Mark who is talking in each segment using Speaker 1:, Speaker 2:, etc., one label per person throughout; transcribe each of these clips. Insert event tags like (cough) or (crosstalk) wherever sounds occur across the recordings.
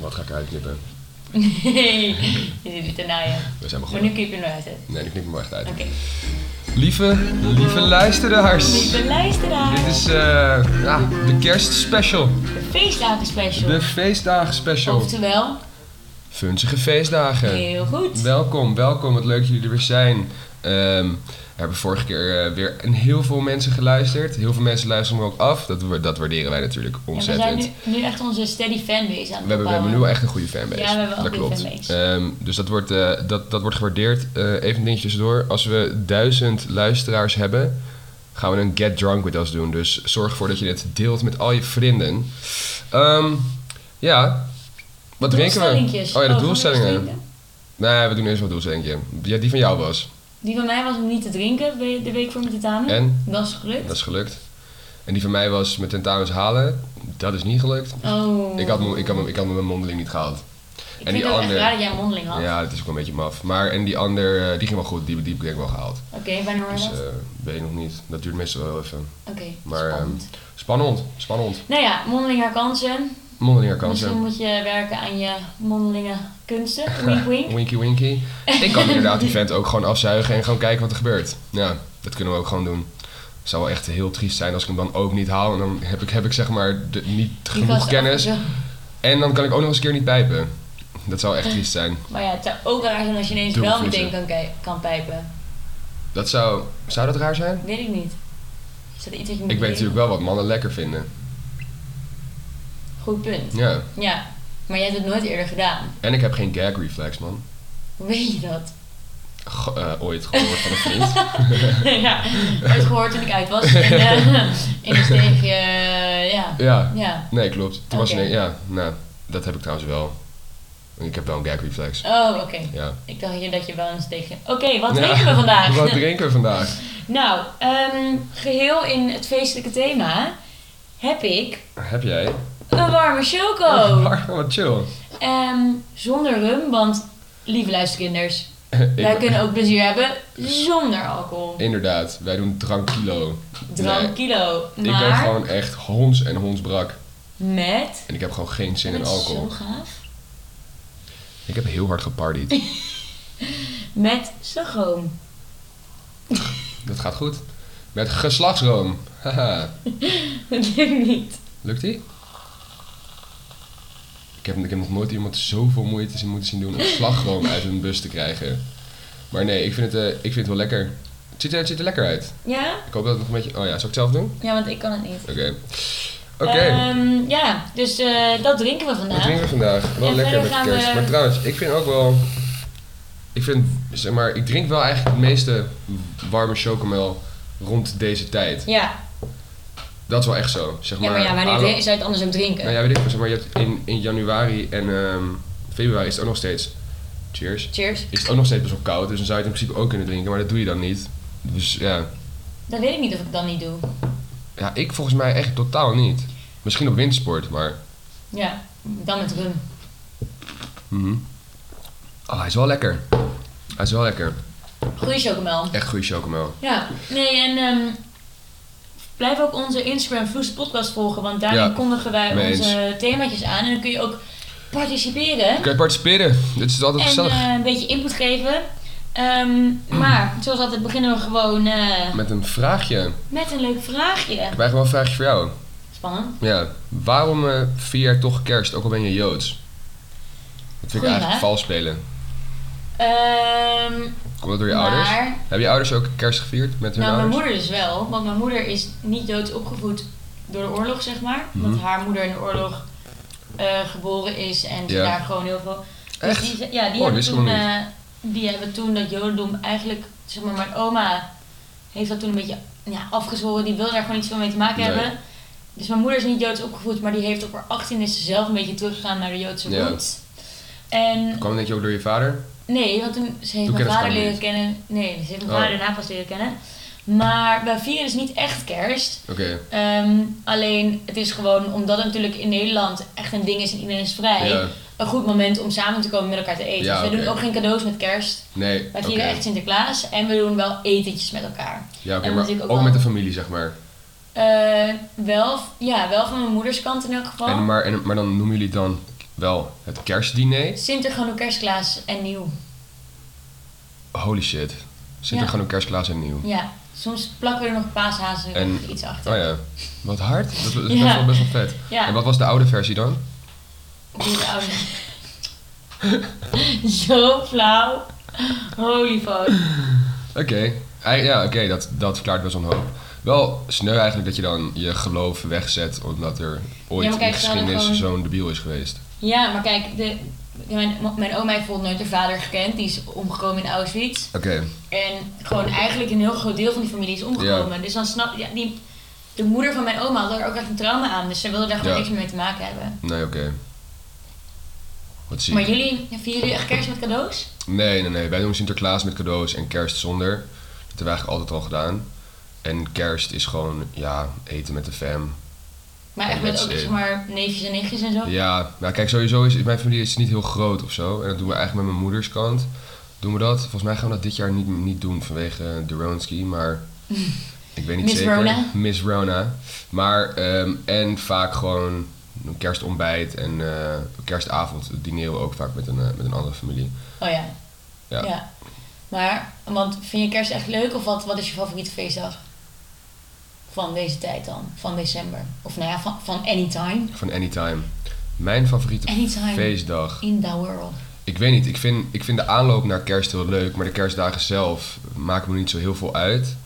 Speaker 1: wat ga ik uitknippen?
Speaker 2: Nee, (laughs) je zit niet te naaien.
Speaker 1: We zijn
Speaker 2: Maar
Speaker 1: begonnen.
Speaker 2: nu kun je hem eruit zetten.
Speaker 1: Nee, nu knip ik hem echt uit.
Speaker 2: Oké.
Speaker 3: Lieve, lieve luisteraars.
Speaker 2: Lieve luisteraar,
Speaker 3: Dit is eh, ja, de kerstspecial.
Speaker 2: de feestdagen special.
Speaker 3: De feestdagen special.
Speaker 2: Oftewel,
Speaker 3: Funzige feestdagen.
Speaker 2: heel goed.
Speaker 3: Welkom, welkom. Wat leuk dat jullie er weer zijn. Ehm, we hebben vorige keer eh, weer een heel veel mensen geluisterd. Heel veel mensen luisteren me ook af. Dat, wa- dat waarderen wij natuurlijk
Speaker 2: En we zijn
Speaker 3: ontzettend.
Speaker 2: nu, nu echt onze steady fanbase aan het
Speaker 3: We hebben, we hebben nu wel
Speaker 2: opbouwen.
Speaker 3: echt een goede fanbase.
Speaker 2: Ja, we hebben wel
Speaker 3: dat
Speaker 2: een goede
Speaker 3: klopt.
Speaker 2: fanbase.
Speaker 3: Ehm, dus dat wordt, eh, dat, dat wordt gewaardeerd. Eh, even een dingetje tussendoor. Als we duizend luisteraars hebben, gaan we een Get Drunk With Us doen. Dus zorg ervoor dat je dit deelt met al je vrienden. Ehm, ja, wat drinken we?
Speaker 2: Doelstellingjes.
Speaker 3: Oh ja, de
Speaker 2: gaan we nog
Speaker 3: doelstellingen.
Speaker 2: eens drinken?
Speaker 3: Nee, we doen eerst wat doelstellingen. Ja, die van jou was.
Speaker 2: Die van mij was om niet te drinken we- de week voor mijn tentamen.
Speaker 3: En?
Speaker 2: Dat is gelukt.
Speaker 3: Dat is gelukt. En die van mij was met tentamens halen. Dat is niet gelukt.
Speaker 2: Oh.
Speaker 3: Ik had, mo- ik had, me- ik had me mijn mondeling niet gehaald.
Speaker 2: Ik
Speaker 3: en
Speaker 2: vind
Speaker 3: die
Speaker 2: het ook
Speaker 3: andere-
Speaker 2: echt raar dat jij een mondeling had.
Speaker 3: Ja, dat is ook wel een beetje maf. Maar en die ander, eh, die ging wel goed. Die, die heb ik denk ik wel gehaald.
Speaker 2: Oké, wanneer hoor je
Speaker 3: Dus
Speaker 2: dat?
Speaker 3: eh weet ik nog niet. Dat duurt meestal wel even.
Speaker 2: Oké,
Speaker 3: maar, ehm,
Speaker 2: spannend.
Speaker 3: Spannend, spannend.
Speaker 2: nou ja, mondelinge kansen.
Speaker 3: Mondelinge kansen.
Speaker 2: Misschien moet je werken aan je mondelinge kunsten. Wink wink.
Speaker 3: Winky winky. Ik kan inderdaad die vent ook gewoon afzuigen en gewoon kijken wat er gebeurt. Ja, dat kunnen we ook gewoon doen. Het zou wel echt heel triest zijn als ik hem dan ook niet haal. En dan heb ik, heb ik zeg maar de- niet
Speaker 2: Die
Speaker 3: genoeg
Speaker 2: gast
Speaker 3: kennis.
Speaker 2: af-
Speaker 3: En dan kan ik ook nog eens een keer niet pijpen. Dat zou echt triest zijn.
Speaker 2: Maar ja, het zou ook raar zijn als je ineens
Speaker 3: Dubbel
Speaker 2: wel
Speaker 3: vriezen.
Speaker 2: meteen kan, kijk- kan pijpen.
Speaker 3: Dat zou... Zou dat raar zijn?
Speaker 2: Weet ik niet. Is dat iets wat je moet
Speaker 3: Ik weet
Speaker 2: leren?
Speaker 3: natuurlijk wel wat mannen lekker vinden.
Speaker 2: Goed punt.
Speaker 3: Ja.
Speaker 2: Ja, maar jij hebt het nooit eerder gedaan.
Speaker 3: En ik heb geen gag reflex, man.
Speaker 2: Hoe weet je dat?
Speaker 3: (laughs) Go- eh, ooit gehoord van een vriend.
Speaker 2: (laughs) ja, ooit gehoord toen ik uit
Speaker 3: (laughs)
Speaker 2: was. En, eh, in een steegje, eh, ja.
Speaker 3: Ja.
Speaker 2: Ja.
Speaker 3: Nee, klopt. Toen was
Speaker 2: Oké.
Speaker 3: nee, ja, nou, dat heb ik trouwens wel. Ik heb wel een gag reflex.
Speaker 2: Oh, oké.
Speaker 3: Ja.
Speaker 2: Ik dacht hier dat je wel een steegje... Oké, wat
Speaker 3: Ja.
Speaker 2: drinken we vandaag?
Speaker 3: (laughs) Wat drinken we vandaag?
Speaker 2: (laughs) nou, ehm, geheel in het feestelijke thema heb ik
Speaker 3: Heb jij?
Speaker 2: een warme
Speaker 3: (laughs)
Speaker 2: choco.
Speaker 3: Warm, Wat chill.
Speaker 2: (laughs) Ehm, zonder rum, want lieve luisterkinders,
Speaker 3: Ik-
Speaker 2: wij kunnen ook plezier hebben zonder alcohol.
Speaker 3: Inderdaad, wij doen drankilo.
Speaker 2: Drank kilo,
Speaker 3: Ik ben
Speaker 2: maar
Speaker 3: gewoon echt hons en hondsbrak.
Speaker 2: met...
Speaker 3: En ik heb gewoon geen zin
Speaker 2: Dat
Speaker 3: in
Speaker 2: is
Speaker 3: alcohol.
Speaker 2: zo gaaf.
Speaker 3: Ik heb heel hard
Speaker 2: (laughs)
Speaker 3: gepartied.
Speaker 2: Met (laughs) slagroom.
Speaker 3: Dat gaat goed. Met geslachtsroom. Haha.
Speaker 2: Dat lukt niet.
Speaker 3: Lukt die? Ik heb, ik heb nog nooit iemand zoveel moeite zien moeten zien doen om slagroom uit hun bus te krijgen. Maar nee, ik vind het, eh, ik vind het wel lekker. Het ziet, er- het ziet er lekker uit.
Speaker 2: Ja?
Speaker 3: Ik hoop dat het nog een beetje... Oh ja, zal ik het zelf doen?
Speaker 2: Ja, want ik kan het niet.
Speaker 3: Oké. Oké,
Speaker 2: Ehm, ja, dus eh, dat drinken we
Speaker 3: wat
Speaker 2: vandaag.
Speaker 3: drinken we vandaag? Wel
Speaker 2: En
Speaker 3: lekker
Speaker 2: verder
Speaker 3: met de
Speaker 2: gaan
Speaker 3: kerst.
Speaker 2: we-
Speaker 3: Maar trouwens, ik vind ook wel... Ik vind, zeg maar, ik drink wel eigenlijk het meeste warme chocomel rond deze tijd.
Speaker 2: Ja.
Speaker 3: Dat is wel echt zo. Zeg
Speaker 2: ja,
Speaker 3: maar,
Speaker 2: maar ja, wanneer
Speaker 3: aanloop-
Speaker 2: drinken- zou je het andersom drinken?
Speaker 3: Nou ja, weet ik, zeg maar, je hebt in, in januari en ehm, februari is het ook nog steeds... Cheers.
Speaker 2: Cheers.
Speaker 3: Is het ook nog steeds best wel koud, dus dan zou je het in principe ook kunnen drinken, maar dat doe je dan niet. Dus ja,
Speaker 2: Dat weet ik niet of ik dat niet doe.
Speaker 3: ja ik volgens mij echt totaal niet. Misschien op wintersport, maar...
Speaker 2: Ja, dan met rum.
Speaker 3: Mhm. Oh, hij is wel lekker. Hij is wel lekker.
Speaker 2: Goeie chocomel.
Speaker 3: Echt goede chocomel.
Speaker 2: Ja, nee, en ehm, blijf ook onze Instagram Vloes Podcast volgen, want daarin
Speaker 3: Ja,
Speaker 2: kondigen wij
Speaker 3: mee
Speaker 2: onze themaatjes aan en dan kun je ook participeren
Speaker 3: Kun je participeren? Dit is altijd
Speaker 2: en
Speaker 3: gezellig.
Speaker 2: eh, een beetje input geven. Ehm, maar zoals altijd beginnen we gewoon eh,
Speaker 3: Met een vraagje. Ik
Speaker 2: met een leuk vraagje.
Speaker 3: heb eigenlijk wel een vraagje voor jou.
Speaker 2: Spannend.
Speaker 3: Ja. Waarom eh vier jaar toch kerst, ook al ben je Joods? Dat vind ik
Speaker 2: Goeie
Speaker 3: eigenlijk
Speaker 2: vraag.
Speaker 3: vals spelen.
Speaker 2: Ehm,
Speaker 3: Komt dat door je
Speaker 2: maar,
Speaker 3: ouders? Hebben je ouders ook kerst gevierd met hun
Speaker 2: nou, mijn
Speaker 3: ouders?
Speaker 2: moeder dus wel, want mijn moeder is niet joods opgevoed door de oorlog, zeg maar.
Speaker 3: Mhm.
Speaker 2: Want haar moeder in de oorlog eh, geboren is en ze
Speaker 3: Ja.
Speaker 2: daar gewoon heel veel Dus
Speaker 3: Echt?
Speaker 2: Die, ja, die,
Speaker 3: Oh,
Speaker 2: hebben
Speaker 3: wist ik
Speaker 2: toen,
Speaker 3: nog
Speaker 2: eh, die hebben toen dat jodendom eigenlijk, zeg maar, mijn oma heeft dat toen een beetje ja, afgezworen. Die wil daar gewoon niet veel mee te maken
Speaker 3: Nee.
Speaker 2: hebben. Dus mijn moeder is niet joods opgevoed, maar die heeft op haar 18 is ze zelf een beetje teruggegaan naar de joodse
Speaker 3: Ja.
Speaker 2: roots. En
Speaker 3: Kwam dat je ook door je vader?
Speaker 2: nee, want toen ze heeft
Speaker 3: Toen
Speaker 2: mijn
Speaker 3: kennen ze
Speaker 2: vader
Speaker 3: elkaar
Speaker 2: leren
Speaker 3: niet.
Speaker 2: kennen. Nee, ze heeft mijn
Speaker 3: Oh.
Speaker 2: vader daarna pas leren kennen. Maar wij vieren dus niet echt kerst.
Speaker 3: Oké.
Speaker 2: Ehm, alleen het is gewoon omdat het natuurlijk in Nederland echt een ding is en iedereen is vrij.
Speaker 3: Ja.
Speaker 2: Een goed moment om samen te komen met elkaar te eten.
Speaker 3: Ja,
Speaker 2: dus we doen
Speaker 3: oké.
Speaker 2: ook geen cadeaus met kerst.
Speaker 3: Nee.
Speaker 2: Wij
Speaker 3: Oké.
Speaker 2: vieren echt Sinterklaas en we doen wel etentjes met elkaar.
Speaker 3: Ja, oké,
Speaker 2: en
Speaker 3: maar
Speaker 2: natuurlijk
Speaker 3: ook
Speaker 2: ook wel-
Speaker 3: met de familie, zeg maar.
Speaker 2: Eh, wel, ja, wel van mijn moeders kant in elk geval.
Speaker 3: En, maar, en, maar dan noemen jullie dan wel het kerstdiner.
Speaker 2: Sinter, Gano, Kerstklaas en Nieuw.
Speaker 3: Holy shit. Zit er
Speaker 2: Ja.
Speaker 3: gewoon een kerstklaas en nieuw.
Speaker 2: Ja, soms plakken we er nog paashazen
Speaker 3: En-
Speaker 2: of iets achter.
Speaker 3: Oh ja, wat hard. Dat is, dat is
Speaker 2: Ja.
Speaker 3: best, wel, best wel vet.
Speaker 2: Ja,
Speaker 3: En wat was de oude versie dan?
Speaker 2: die de oude. (laughs) Zo flauw. Holy fuck.
Speaker 3: Oké, Ei- ja, oké, dat, dat verklaart best wel een hoop. Wel sneu eigenlijk dat je dan je geloof wegzet omdat er ooit
Speaker 2: Ja, maar kijk,
Speaker 3: in
Speaker 2: ze hadden
Speaker 3: geschiedenis
Speaker 2: gewoon-
Speaker 3: zo'n debiel is geweest.
Speaker 2: Ja, maar kijk, de, mijn, mijn oma heeft bijvoorbeeld nooit haar vader gekend. Die is omgekomen in Auschwitz.
Speaker 3: Oké,
Speaker 2: En gewoon eigenlijk een heel groot deel van die familie is omgekomen. Dus dan snap ja, die, de moeder van mijn oma had er ook echt een trauma aan. Dus ze wilde daar gewoon
Speaker 3: Ja.
Speaker 2: niks meer mee te maken hebben.
Speaker 3: nee, oké. Wat zie
Speaker 2: Maar jullie, vieren jullie echt kerst met cadeaus?
Speaker 3: Nee, nee, nee. Wij doen Sinterklaas met cadeaus en kerst zonder. Dat hebben we eigenlijk altijd al gedaan. En kerst is gewoon, ja, eten met de fam.
Speaker 2: Maar echt
Speaker 3: Ja,
Speaker 2: met
Speaker 3: dat
Speaker 2: ook
Speaker 3: is-
Speaker 2: zeg maar neefjes en nichtjes en zo?
Speaker 3: Ja, maar kijk, sowieso is mijn familie is niet heel groot of zo. En dat doen we eigenlijk met mijn moeders kant. Doen we dat? Volgens mij gaan we dat dit jaar niet, niet doen vanwege de Ronski,
Speaker 2: (laughs)
Speaker 3: maar ik weet niet
Speaker 2: Miss
Speaker 3: zeker.
Speaker 2: Rona.
Speaker 3: Miss Rona. Maar, ehm, en vaak gewoon een kerstontbijt en eh, kerstavond dineren we ook vaak met een, eh, met een andere familie.
Speaker 2: Oh ja.
Speaker 3: Ja.
Speaker 2: Maar, want vind je kerst echt leuk of wat, wat is je favoriete feestdag? Van deze tijd dan, van december. Of nou ja, van, van anytime.
Speaker 3: Van Anytime. Mijn favoriete
Speaker 2: Anytime.
Speaker 3: feestdag.
Speaker 2: In the world.
Speaker 3: Ik weet niet, ik vind, ik vind de aanloop naar kerst heel leuk, maar de kerstdagen zelf maken me niet zo heel veel uit.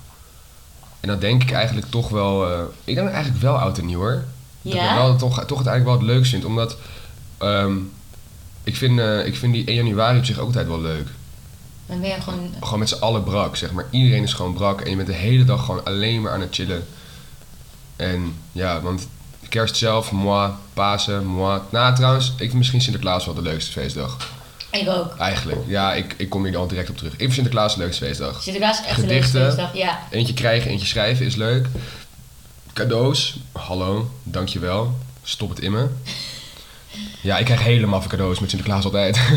Speaker 3: En dan denk ik eigenlijk toch wel, eh, ik denk eigenlijk wel oud en nieuw hoor. Dat ik
Speaker 2: Ja?
Speaker 3: wel, toch, toch het eigenlijk wel het leukst vind, omdat ehm, ik, vind, eh, ik vind die 1 januari op zich ook altijd wel leuk.
Speaker 2: Dan ben je gewoon...
Speaker 3: Gewoon met z'n allen brak, zeg maar. Iedereen is gewoon brak en je bent de hele dag gewoon alleen maar aan het chillen. En ja, want kerst zelf, moi, Pasen, moi. Nou trouwens, ik vind misschien Sinterklaas wel de leukste feestdag.
Speaker 2: Ik ook.
Speaker 3: Eigenlijk, ja, ik, ik kom hier dan direct op terug. Ik vind Sinterklaas de leukste feestdag.
Speaker 2: Sinterklaas is echt een leuke
Speaker 3: Gedichten.
Speaker 2: feestdag. Ja.
Speaker 3: Eentje krijgen, eentje schrijven is leuk. Cadeaus, hallo, dankjewel. Stop het in me. Ja, ik krijg helemaal veel cadeaus met Sinterklaas altijd. (laughs)
Speaker 2: (laughs)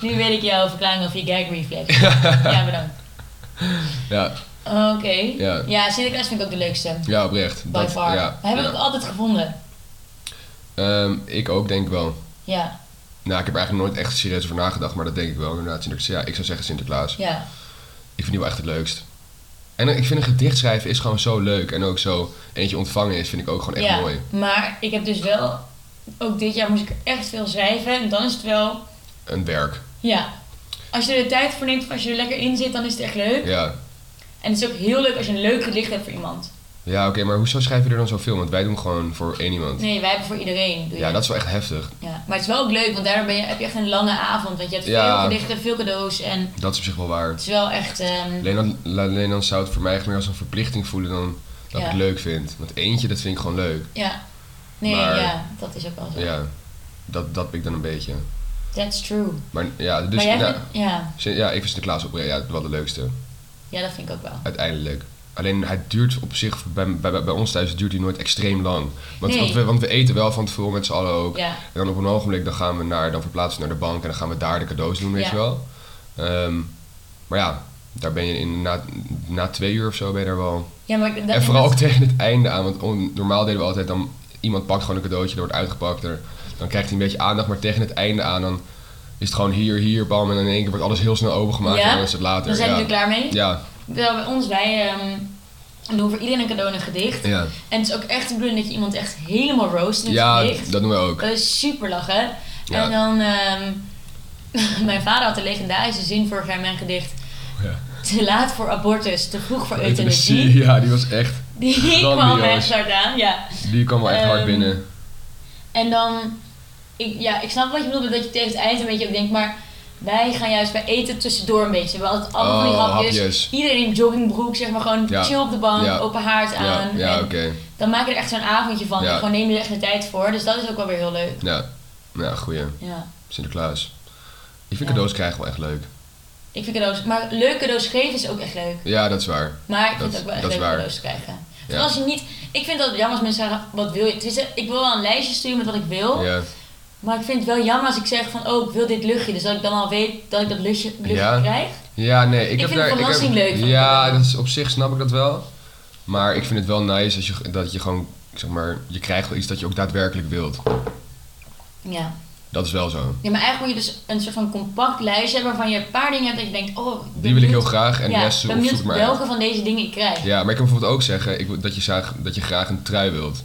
Speaker 2: Nu weet ik jouw verklaring over je gag reflex. ja, bedankt.
Speaker 3: ja,
Speaker 2: Oké.
Speaker 3: Ja.
Speaker 2: Ja. Sinterklaas vind ik ook de leukste.
Speaker 3: ja, oprecht.
Speaker 2: By far.
Speaker 3: Ja,
Speaker 2: We hebben
Speaker 3: ja.
Speaker 2: het ook altijd gevonden.
Speaker 3: Ehm, ik ook, denk ik wel.
Speaker 2: Ja,
Speaker 3: Nou, ik heb er eigenlijk nooit echt serieus over nagedacht, maar dat denk ik wel. Inderdaad, Sinterklaas. Ja, ik zou zeggen Sinterklaas.
Speaker 2: ja.
Speaker 3: Ik vind die wel echt het leukst. En eh, ik vind een gedicht schrijven is gewoon zo leuk. En ook zo eentje ontvangen is, vind ik ook gewoon echt
Speaker 2: ja.
Speaker 3: mooi.
Speaker 2: Maar ik heb dus wel... Ook dit jaar moest ik er echt veel schrijven. En dan is het wel...
Speaker 3: Een werk.
Speaker 2: Ja. Als je er de tijd voor neemt, of als je er lekker in zit, dan is het echt leuk.
Speaker 3: Ja.
Speaker 2: En het is ook heel leuk als je een leuk gedicht hebt voor iemand.
Speaker 3: Ja, oké, maar hoezo schrijf je er dan zoveel? Want wij doen gewoon voor één iemand.
Speaker 2: Nee, wij hebben voor iedereen. Doe je.
Speaker 3: Ja, dat is wel echt heftig.
Speaker 2: Ja. Maar het is wel ook leuk, want daardoor ben je, heb je echt een lange avond. Want je hebt
Speaker 3: Ja.
Speaker 2: veel gedichten, veel cadeaus. En
Speaker 3: Dat is op zich wel waar.
Speaker 2: het is wel echt... ehm,
Speaker 3: Alleen dan, la- alleen dan zou het voor mij echt meer als een verplichting voelen dan dat ik
Speaker 2: Ja.
Speaker 3: het leuk vind. Want eentje, dat vind ik gewoon leuk.
Speaker 2: ja. Nee,
Speaker 3: Maar-
Speaker 2: ja. Dat is ook wel zo.
Speaker 3: Ja, dat, dat ben ik dan een beetje.
Speaker 2: That's true.
Speaker 3: Maar ja, dus
Speaker 2: maar jij
Speaker 3: nou,
Speaker 2: vindt- ja.
Speaker 3: Sin- ja, ik vind Sinterklaas op ja, wel de leukste.
Speaker 2: ja, dat vind ik ook wel.
Speaker 3: Uiteindelijk. Alleen hij duurt op zich, bij, bij, bij ons thuis duurt hij nooit extreem lang. Want,
Speaker 2: Nee.
Speaker 3: want, we, want we eten wel van tevoren met z'n allen ook.
Speaker 2: Ja,
Speaker 3: En dan op een ogenblik dan gaan we naar, dan verplaatsen we naar de bank en dan gaan we daar de cadeaus doen, weet
Speaker 2: Ja.
Speaker 3: je wel. Ehm, maar ja, daar ben je in, na, na twee uur of zo ben je daar wel.
Speaker 2: ja maar... ik- Dat,
Speaker 3: en vooral
Speaker 2: dat-
Speaker 3: ook (laughs) tegen het einde aan, want on- normaal deden we altijd dan, iemand pakt gewoon een cadeautje, er wordt uitgepakt, er, dan krijgt hij een beetje aandacht, maar tegen het einde aan dan is het gewoon hier, hier, bam, en in één keer wordt alles heel snel opengemaakt
Speaker 2: Ja?
Speaker 3: en dan is het later.
Speaker 2: Dan zijn we
Speaker 3: ja.
Speaker 2: er klaar mee.
Speaker 3: ja,
Speaker 2: Wel, bij ons, wij ehm, doen voor iedereen een cadeau en een gedicht.
Speaker 3: ja,
Speaker 2: En het is ook echt de bedoeling dat je iemand echt helemaal roast in het
Speaker 3: ja,
Speaker 2: gedicht.
Speaker 3: dat doen we ook.
Speaker 2: Dat is super lachen.
Speaker 3: Ja.
Speaker 2: En dan, ehm, (laughs) mijn vader had de legendarische zin vorig jaar in mijn gedicht.
Speaker 3: Ja.
Speaker 2: Te laat voor abortus, te vroeg voor euthanasie.
Speaker 3: Euthanasie, Ja, die was echt,
Speaker 2: Die
Speaker 3: (laughs)
Speaker 2: kwam
Speaker 3: Grandioos.
Speaker 2: echt hard aan, ja.
Speaker 3: die kwam wel echt hard
Speaker 2: Ehm,
Speaker 3: binnen.
Speaker 2: En dan, ik, ja, ik snap wat je bedoelt, met dat je tegen het eind een beetje ook denkt, maar wij gaan juist bij eten tussendoor een beetje. We hadden het allemaal van die
Speaker 3: Oh,
Speaker 2: hapjes.
Speaker 3: hapjes.
Speaker 2: Iedereen in joggingbroek, zeg maar gewoon
Speaker 3: Ja.
Speaker 2: chill op de bank,
Speaker 3: Ja.
Speaker 2: open haard
Speaker 3: Ja,
Speaker 2: aan.
Speaker 3: ja
Speaker 2: En
Speaker 3: oké.
Speaker 2: Dan maak je er echt zo'n avondje van.
Speaker 3: Ja.
Speaker 2: En gewoon neem je er echt de tijd voor. Dus dat is ook wel weer heel leuk.
Speaker 3: Ja, ja, goeie.
Speaker 2: Ja.
Speaker 3: Sinterklaas. Ik vind
Speaker 2: Ja.
Speaker 3: cadeaus krijgen wel echt leuk.
Speaker 2: Ik vind cadeaus, maar leuke cadeaus geven is ook echt leuk.
Speaker 3: Ja, dat is waar.
Speaker 2: Maar ik vind
Speaker 3: Dat-
Speaker 2: het ook wel echt
Speaker 3: dat is
Speaker 2: leuk om
Speaker 3: waar.
Speaker 2: cadeaus te krijgen.
Speaker 3: Ja.
Speaker 2: Vooral als je niet... Ik vind dat jammer als mensen zeggen, wat wil je? Het is, eh, ik wil wel een lijstje sturen met wat ik wil.
Speaker 3: Ja,
Speaker 2: Maar ik vind het wel jammer als ik zeg van, oh, ik wil dit luchtje. Dus dat ik dan al weet dat ik dat luchtje, luchtje
Speaker 3: Ja.
Speaker 2: krijg.
Speaker 3: ja nee, ik,
Speaker 2: Ik
Speaker 3: heb
Speaker 2: vind
Speaker 3: daar.
Speaker 2: de verrassing
Speaker 3: ik heb-
Speaker 2: leuk van
Speaker 3: Ja,
Speaker 2: cadeaus.
Speaker 3: dat is, op zich snap ik dat wel. Maar ik vind het wel nice als je, dat je gewoon, zeg maar, je krijgt wel iets dat je ook daadwerkelijk wilt.
Speaker 2: Ja.
Speaker 3: Dat is wel zo.
Speaker 2: Ja, maar eigenlijk moet je dus een soort van compact lijstje hebben waarvan je een paar dingen hebt dat je denkt, oh, ben
Speaker 3: Die wil ik heel
Speaker 2: benieuwd-
Speaker 3: graag en de rest
Speaker 2: ja,
Speaker 3: zoek,
Speaker 2: ben
Speaker 3: zoek
Speaker 2: benieuwd
Speaker 3: maar uit.
Speaker 2: welke van deze dingen ik krijg.
Speaker 3: Ja, maar ik kan bijvoorbeeld ook zeggen ik, wil- dat, je graag, dat je graag een trui wilt.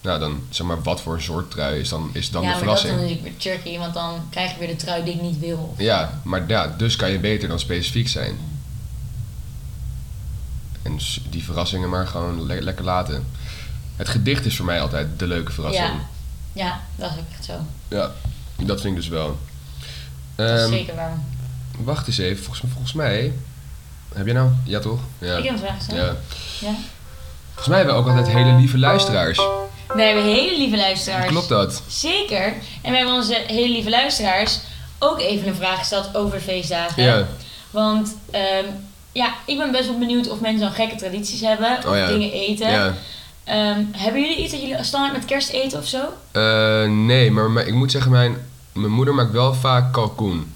Speaker 3: Nou, dan zeg maar, wat voor soort trui is dan, is dan
Speaker 2: Ja,
Speaker 3: de
Speaker 2: maar dat is dan
Speaker 3: verrassing?
Speaker 2: natuurlijk weer tricky, want dan krijg je weer de trui die ik niet wil.
Speaker 3: Ja, maar ja, dus kan je beter dan specifiek zijn. En s- die verrassingen maar gewoon le- lekker laten. Het gedicht is voor mij altijd de leuke verrassing.
Speaker 2: Ja. Ja, dat is ook echt zo.
Speaker 3: Ja, dat vind ik dus wel.
Speaker 2: Dat is
Speaker 3: Ehm,
Speaker 2: zeker waar.
Speaker 3: wacht eens even, volgens, volgens mij. Heb jij nou? Ja, toch? Ja.
Speaker 2: Ik heb een vraag gesteld.
Speaker 3: ja.
Speaker 2: Ja.
Speaker 3: Volgens mij hebben we ook altijd hele lieve luisteraars.
Speaker 2: We hebben hele lieve luisteraars.
Speaker 3: Klopt dat?
Speaker 2: Zeker. En we hebben onze hele lieve luisteraars ook even een vraag gesteld over feestdagen.
Speaker 3: Ja.
Speaker 2: Want ehm, ja, ik ben best wel benieuwd of mensen dan gekke tradities hebben. Of
Speaker 3: Oh ja.
Speaker 2: dingen eten.
Speaker 3: ja.
Speaker 2: Ehm, hebben jullie iets dat jullie standaard met kerst eten of zo?
Speaker 3: Eh, nee, maar, mijn- ik moet zeggen, mijn, mijn moeder maakt wel vaak kalkoen.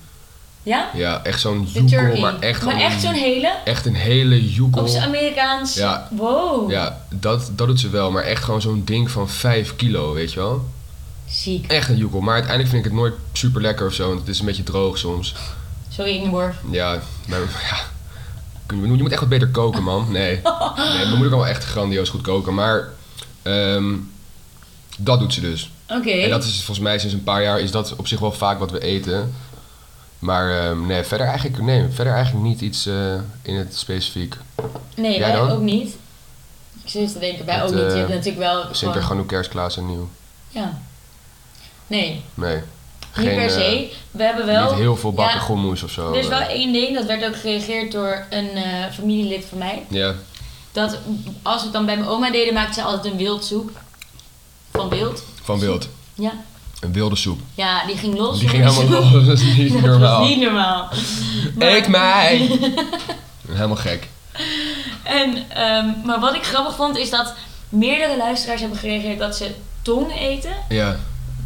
Speaker 2: Ja?
Speaker 3: Ja, echt zo'n
Speaker 2: De turkey.
Speaker 3: joekel, maar echt, gewoon
Speaker 2: zo'n hele?
Speaker 3: echt een hele joekel.
Speaker 2: Op zijn Amerikaans?
Speaker 3: Ja.
Speaker 2: Wow.
Speaker 3: Ja, dat, dat doet ze wel, maar echt gewoon zo'n ding van 5 kilo, weet je wel.
Speaker 2: Ziek.
Speaker 3: Echt een joekel, maar uiteindelijk vind ik het nooit super lekker of zo, want het is een beetje droog soms.
Speaker 2: Sorry Ingeborg.
Speaker 3: Ja, maar (laughs) ja. Je moet je moet echt wat beter koken, man. Nee. nee mijn moeder kan wel echt grandioos goed koken, maar ehm, dat doet ze dus.
Speaker 2: Oké.
Speaker 3: En dat is volgens mij sinds een paar jaar is dat op zich wel vaak wat we eten. Maar ehm, nee, verder eigenlijk, nee, verder eigenlijk niet iets eh, in het specifiek.
Speaker 2: Nee,
Speaker 3: Jij
Speaker 2: wij
Speaker 3: dan?
Speaker 2: ook niet. Ik zit te denken, wij
Speaker 3: Het,
Speaker 2: ook niet. Je
Speaker 3: eh,
Speaker 2: hebt natuurlijk wel
Speaker 3: Zeker
Speaker 2: gewoon...
Speaker 3: gewoon kerst, Klaas en nieuw.
Speaker 2: Ja. Nee,
Speaker 3: Nee.
Speaker 2: niet per
Speaker 3: eh,
Speaker 2: se. We hebben wel...
Speaker 3: niet heel veel bakken
Speaker 2: Ja,
Speaker 3: gommoes of zo.
Speaker 2: Er is wel
Speaker 3: eh.
Speaker 2: één ding, dat werd ook gereageerd door een eh, familielid van mij.
Speaker 3: Ja,
Speaker 2: Dat als we het dan bij mijn oma deden, maakte ze altijd een wildsoep. Van wild.
Speaker 3: van wild.
Speaker 2: Ja.
Speaker 3: Een wilde soep.
Speaker 2: Ja, die ging los.
Speaker 3: Die ging helemaal
Speaker 2: (laughs)
Speaker 3: los, dat is niet
Speaker 2: Dat
Speaker 3: normaal.
Speaker 2: was niet normaal. Maar-
Speaker 3: Eet
Speaker 2: (laughs)
Speaker 3: mij! Helemaal gek.
Speaker 2: En, ehm, maar wat ik grappig vond, is dat meerdere luisteraars hebben gereageerd dat ze tong eten.
Speaker 3: Ja,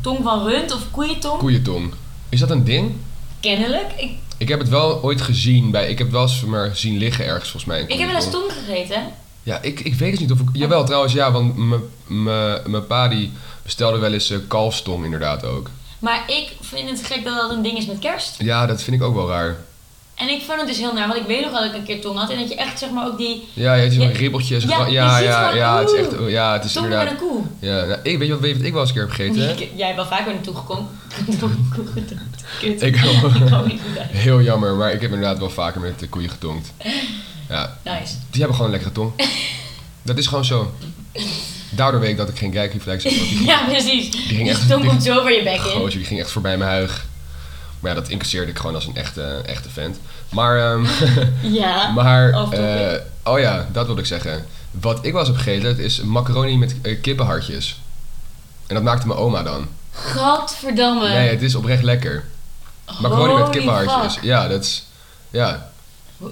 Speaker 2: Tong van rund of koeientong.
Speaker 3: koeientong. Is dat een ding?
Speaker 2: Kennelijk. Ik,
Speaker 3: Ik heb het wel ooit gezien bij. Ik heb wel eens maar zien liggen ergens volgens mij. een
Speaker 2: ik heb wel eens
Speaker 3: koeientong.
Speaker 2: tong gegeten.
Speaker 3: Ja, ik, ik weet dus niet of ik. Jawel, trouwens, ja, want mijn- mijn mijn pa die bestelde wel eens eh, kalfstong inderdaad ook.
Speaker 2: Maar ik vind het gek dat dat een ding is met kerst.
Speaker 3: Ja, dat vind ik ook wel raar.
Speaker 2: En ik vond het dus heel naar, want ik weet nog wel dat ik een keer tong had. En dat je echt zeg maar ook die
Speaker 3: Ja, je hebt zo'n
Speaker 2: Ja.
Speaker 3: ribbeltje. zo'n
Speaker 2: Ja,
Speaker 3: gra-
Speaker 2: je
Speaker 3: ja,
Speaker 2: ziet
Speaker 3: ja,
Speaker 2: gewoon,
Speaker 3: ja, het is echt.
Speaker 2: oeh,
Speaker 3: Ja, het is
Speaker 2: tong met
Speaker 3: inderdaad.
Speaker 2: een koe.
Speaker 3: Ja, nou, ik weet je wat, weet je wat ik wel eens een keer heb
Speaker 2: (laughs)
Speaker 3: gegeten.
Speaker 2: Ik- Jij hebt wel vaker een toe gekomen.
Speaker 3: (laughs)
Speaker 2: Kut.
Speaker 3: Ik (laughs)
Speaker 2: Ik
Speaker 3: wel.
Speaker 2: kwam niet goed uit.
Speaker 3: Heel jammer, maar ik heb inderdaad wel vaker met de koeien getonkt. Ja,
Speaker 2: Nice. (laughs)
Speaker 3: die hebben gewoon een lekkere tong. Dat is gewoon zo. Daardoor weet ik dat ik geen kijkreflex heb.
Speaker 2: (laughs)
Speaker 3: want die ging-
Speaker 2: Ja, precies. Die,
Speaker 3: ging
Speaker 2: (laughs)
Speaker 3: echt-
Speaker 2: tong
Speaker 3: die-
Speaker 2: komt zo over je bek in.
Speaker 3: Gozer, die ging echt voorbij mijn huig. Maar ja, dat incasseerde ik gewoon als een echte, echte vent. Maar, ehm, (laughs)
Speaker 2: Ja.
Speaker 3: maar
Speaker 2: (laughs) off topic.
Speaker 3: eh, oh ja, dat wilde ik zeggen. Wat ik wel eens heb gegeten, dat is macaroni met eh, kippenhartjes. En dat maakte mijn oma dan.
Speaker 2: Gadverdamme.
Speaker 3: Nee, het is oprecht lekker. Macaroni met dus-
Speaker 2: Holy
Speaker 3: kippenhartjes.
Speaker 2: fuck.
Speaker 3: Ja, dat is... Ja,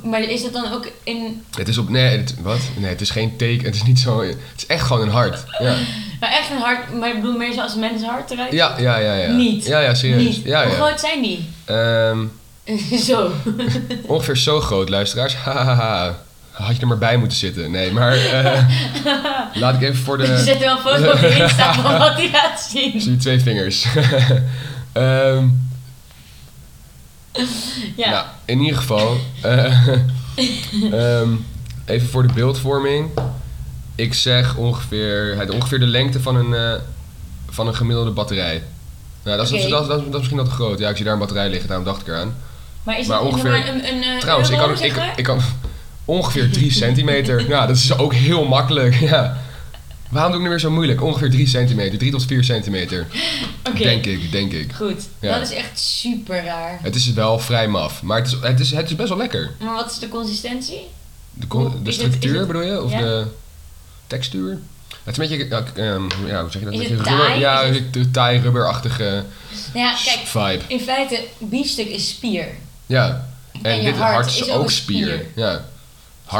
Speaker 2: Maar is dat dan ook in...
Speaker 3: het is op... Nee, het, wat? Nee, het is geen teken. Het is niet zo... Het is echt gewoon een hart.
Speaker 2: (laughs)
Speaker 3: Ja,
Speaker 2: Maar echt een hart... Maar ik bedoel meer zoals een mens hart eruit?
Speaker 3: ja, ja, ja. ja.
Speaker 2: Niet.
Speaker 3: Ja, ja, serieus.
Speaker 2: Niet.
Speaker 3: Ja,
Speaker 2: Hoe
Speaker 3: ja.
Speaker 2: groot zijn die? (laughs)
Speaker 3: Ehm,
Speaker 2: zo.
Speaker 3: Ongeveer zo groot, luisteraars. (laughs) Hahaha. Had je er maar bij moeten zitten. Nee, maar eh,
Speaker 2: (laughs)
Speaker 3: laat ik even voor
Speaker 2: Je
Speaker 3: de...
Speaker 2: zet wel een foto op je
Speaker 3: (laughs)
Speaker 2: Insta van wat hij laat zien.
Speaker 3: Zie je twee vingers. (laughs) Ehm,
Speaker 2: Ja.
Speaker 3: Nou, in ieder geval. eh, (laughs) ehm, even voor de beeldvorming. Ik zeg ongeveer, het, ongeveer de lengte van een, eh, van een gemiddelde batterij. Nou, dat is,
Speaker 2: Oké.
Speaker 3: dat, dat, dat is misschien al te groot. Ja, ik zie daar een batterij liggen, daarom dacht ik eraan.
Speaker 2: Maar is
Speaker 3: Maar
Speaker 2: het
Speaker 3: ongeveer-
Speaker 2: maar een, een, eh,
Speaker 3: Trouwens, ik
Speaker 2: euro,
Speaker 3: kan,
Speaker 2: zeg maar?
Speaker 3: ik, ik kan ongeveer 3
Speaker 2: (laughs)
Speaker 3: centimeter. Nou, dat is ook heel makkelijk. (laughs) Ja. Waarom doe ik nu weer zo moeilijk? Ongeveer 3 centimeter, 3 tot 4 centimeter.
Speaker 2: Oké,
Speaker 3: Denk ik, denk ik.
Speaker 2: goed.
Speaker 3: Ja.
Speaker 2: Dat is echt super raar.
Speaker 3: Het is wel vrij maf, maar het is, het is, het is best wel lekker.
Speaker 2: Maar wat is de consistentie?
Speaker 3: De, con-
Speaker 2: Hoe-
Speaker 3: de
Speaker 2: is het- is
Speaker 3: structuur
Speaker 2: het-
Speaker 3: bedoel je? Of
Speaker 2: ja.
Speaker 3: de textuur? Het is een beetje, nou, k- ehm, ja, hoe zeg je dat?
Speaker 2: Is
Speaker 3: Een
Speaker 2: het
Speaker 3: beetje rubber,
Speaker 2: taai?
Speaker 3: ja,
Speaker 2: Is
Speaker 3: de taai rubberachtige
Speaker 2: Nou ja, kijk.
Speaker 3: vibe.
Speaker 2: In feite, biefstuk is spier.
Speaker 3: Ja. En,
Speaker 2: En je
Speaker 3: dit
Speaker 2: hart
Speaker 3: hart
Speaker 2: is
Speaker 3: is
Speaker 2: ook
Speaker 3: ook spier.
Speaker 2: spier.
Speaker 3: Ja.
Speaker 2: dat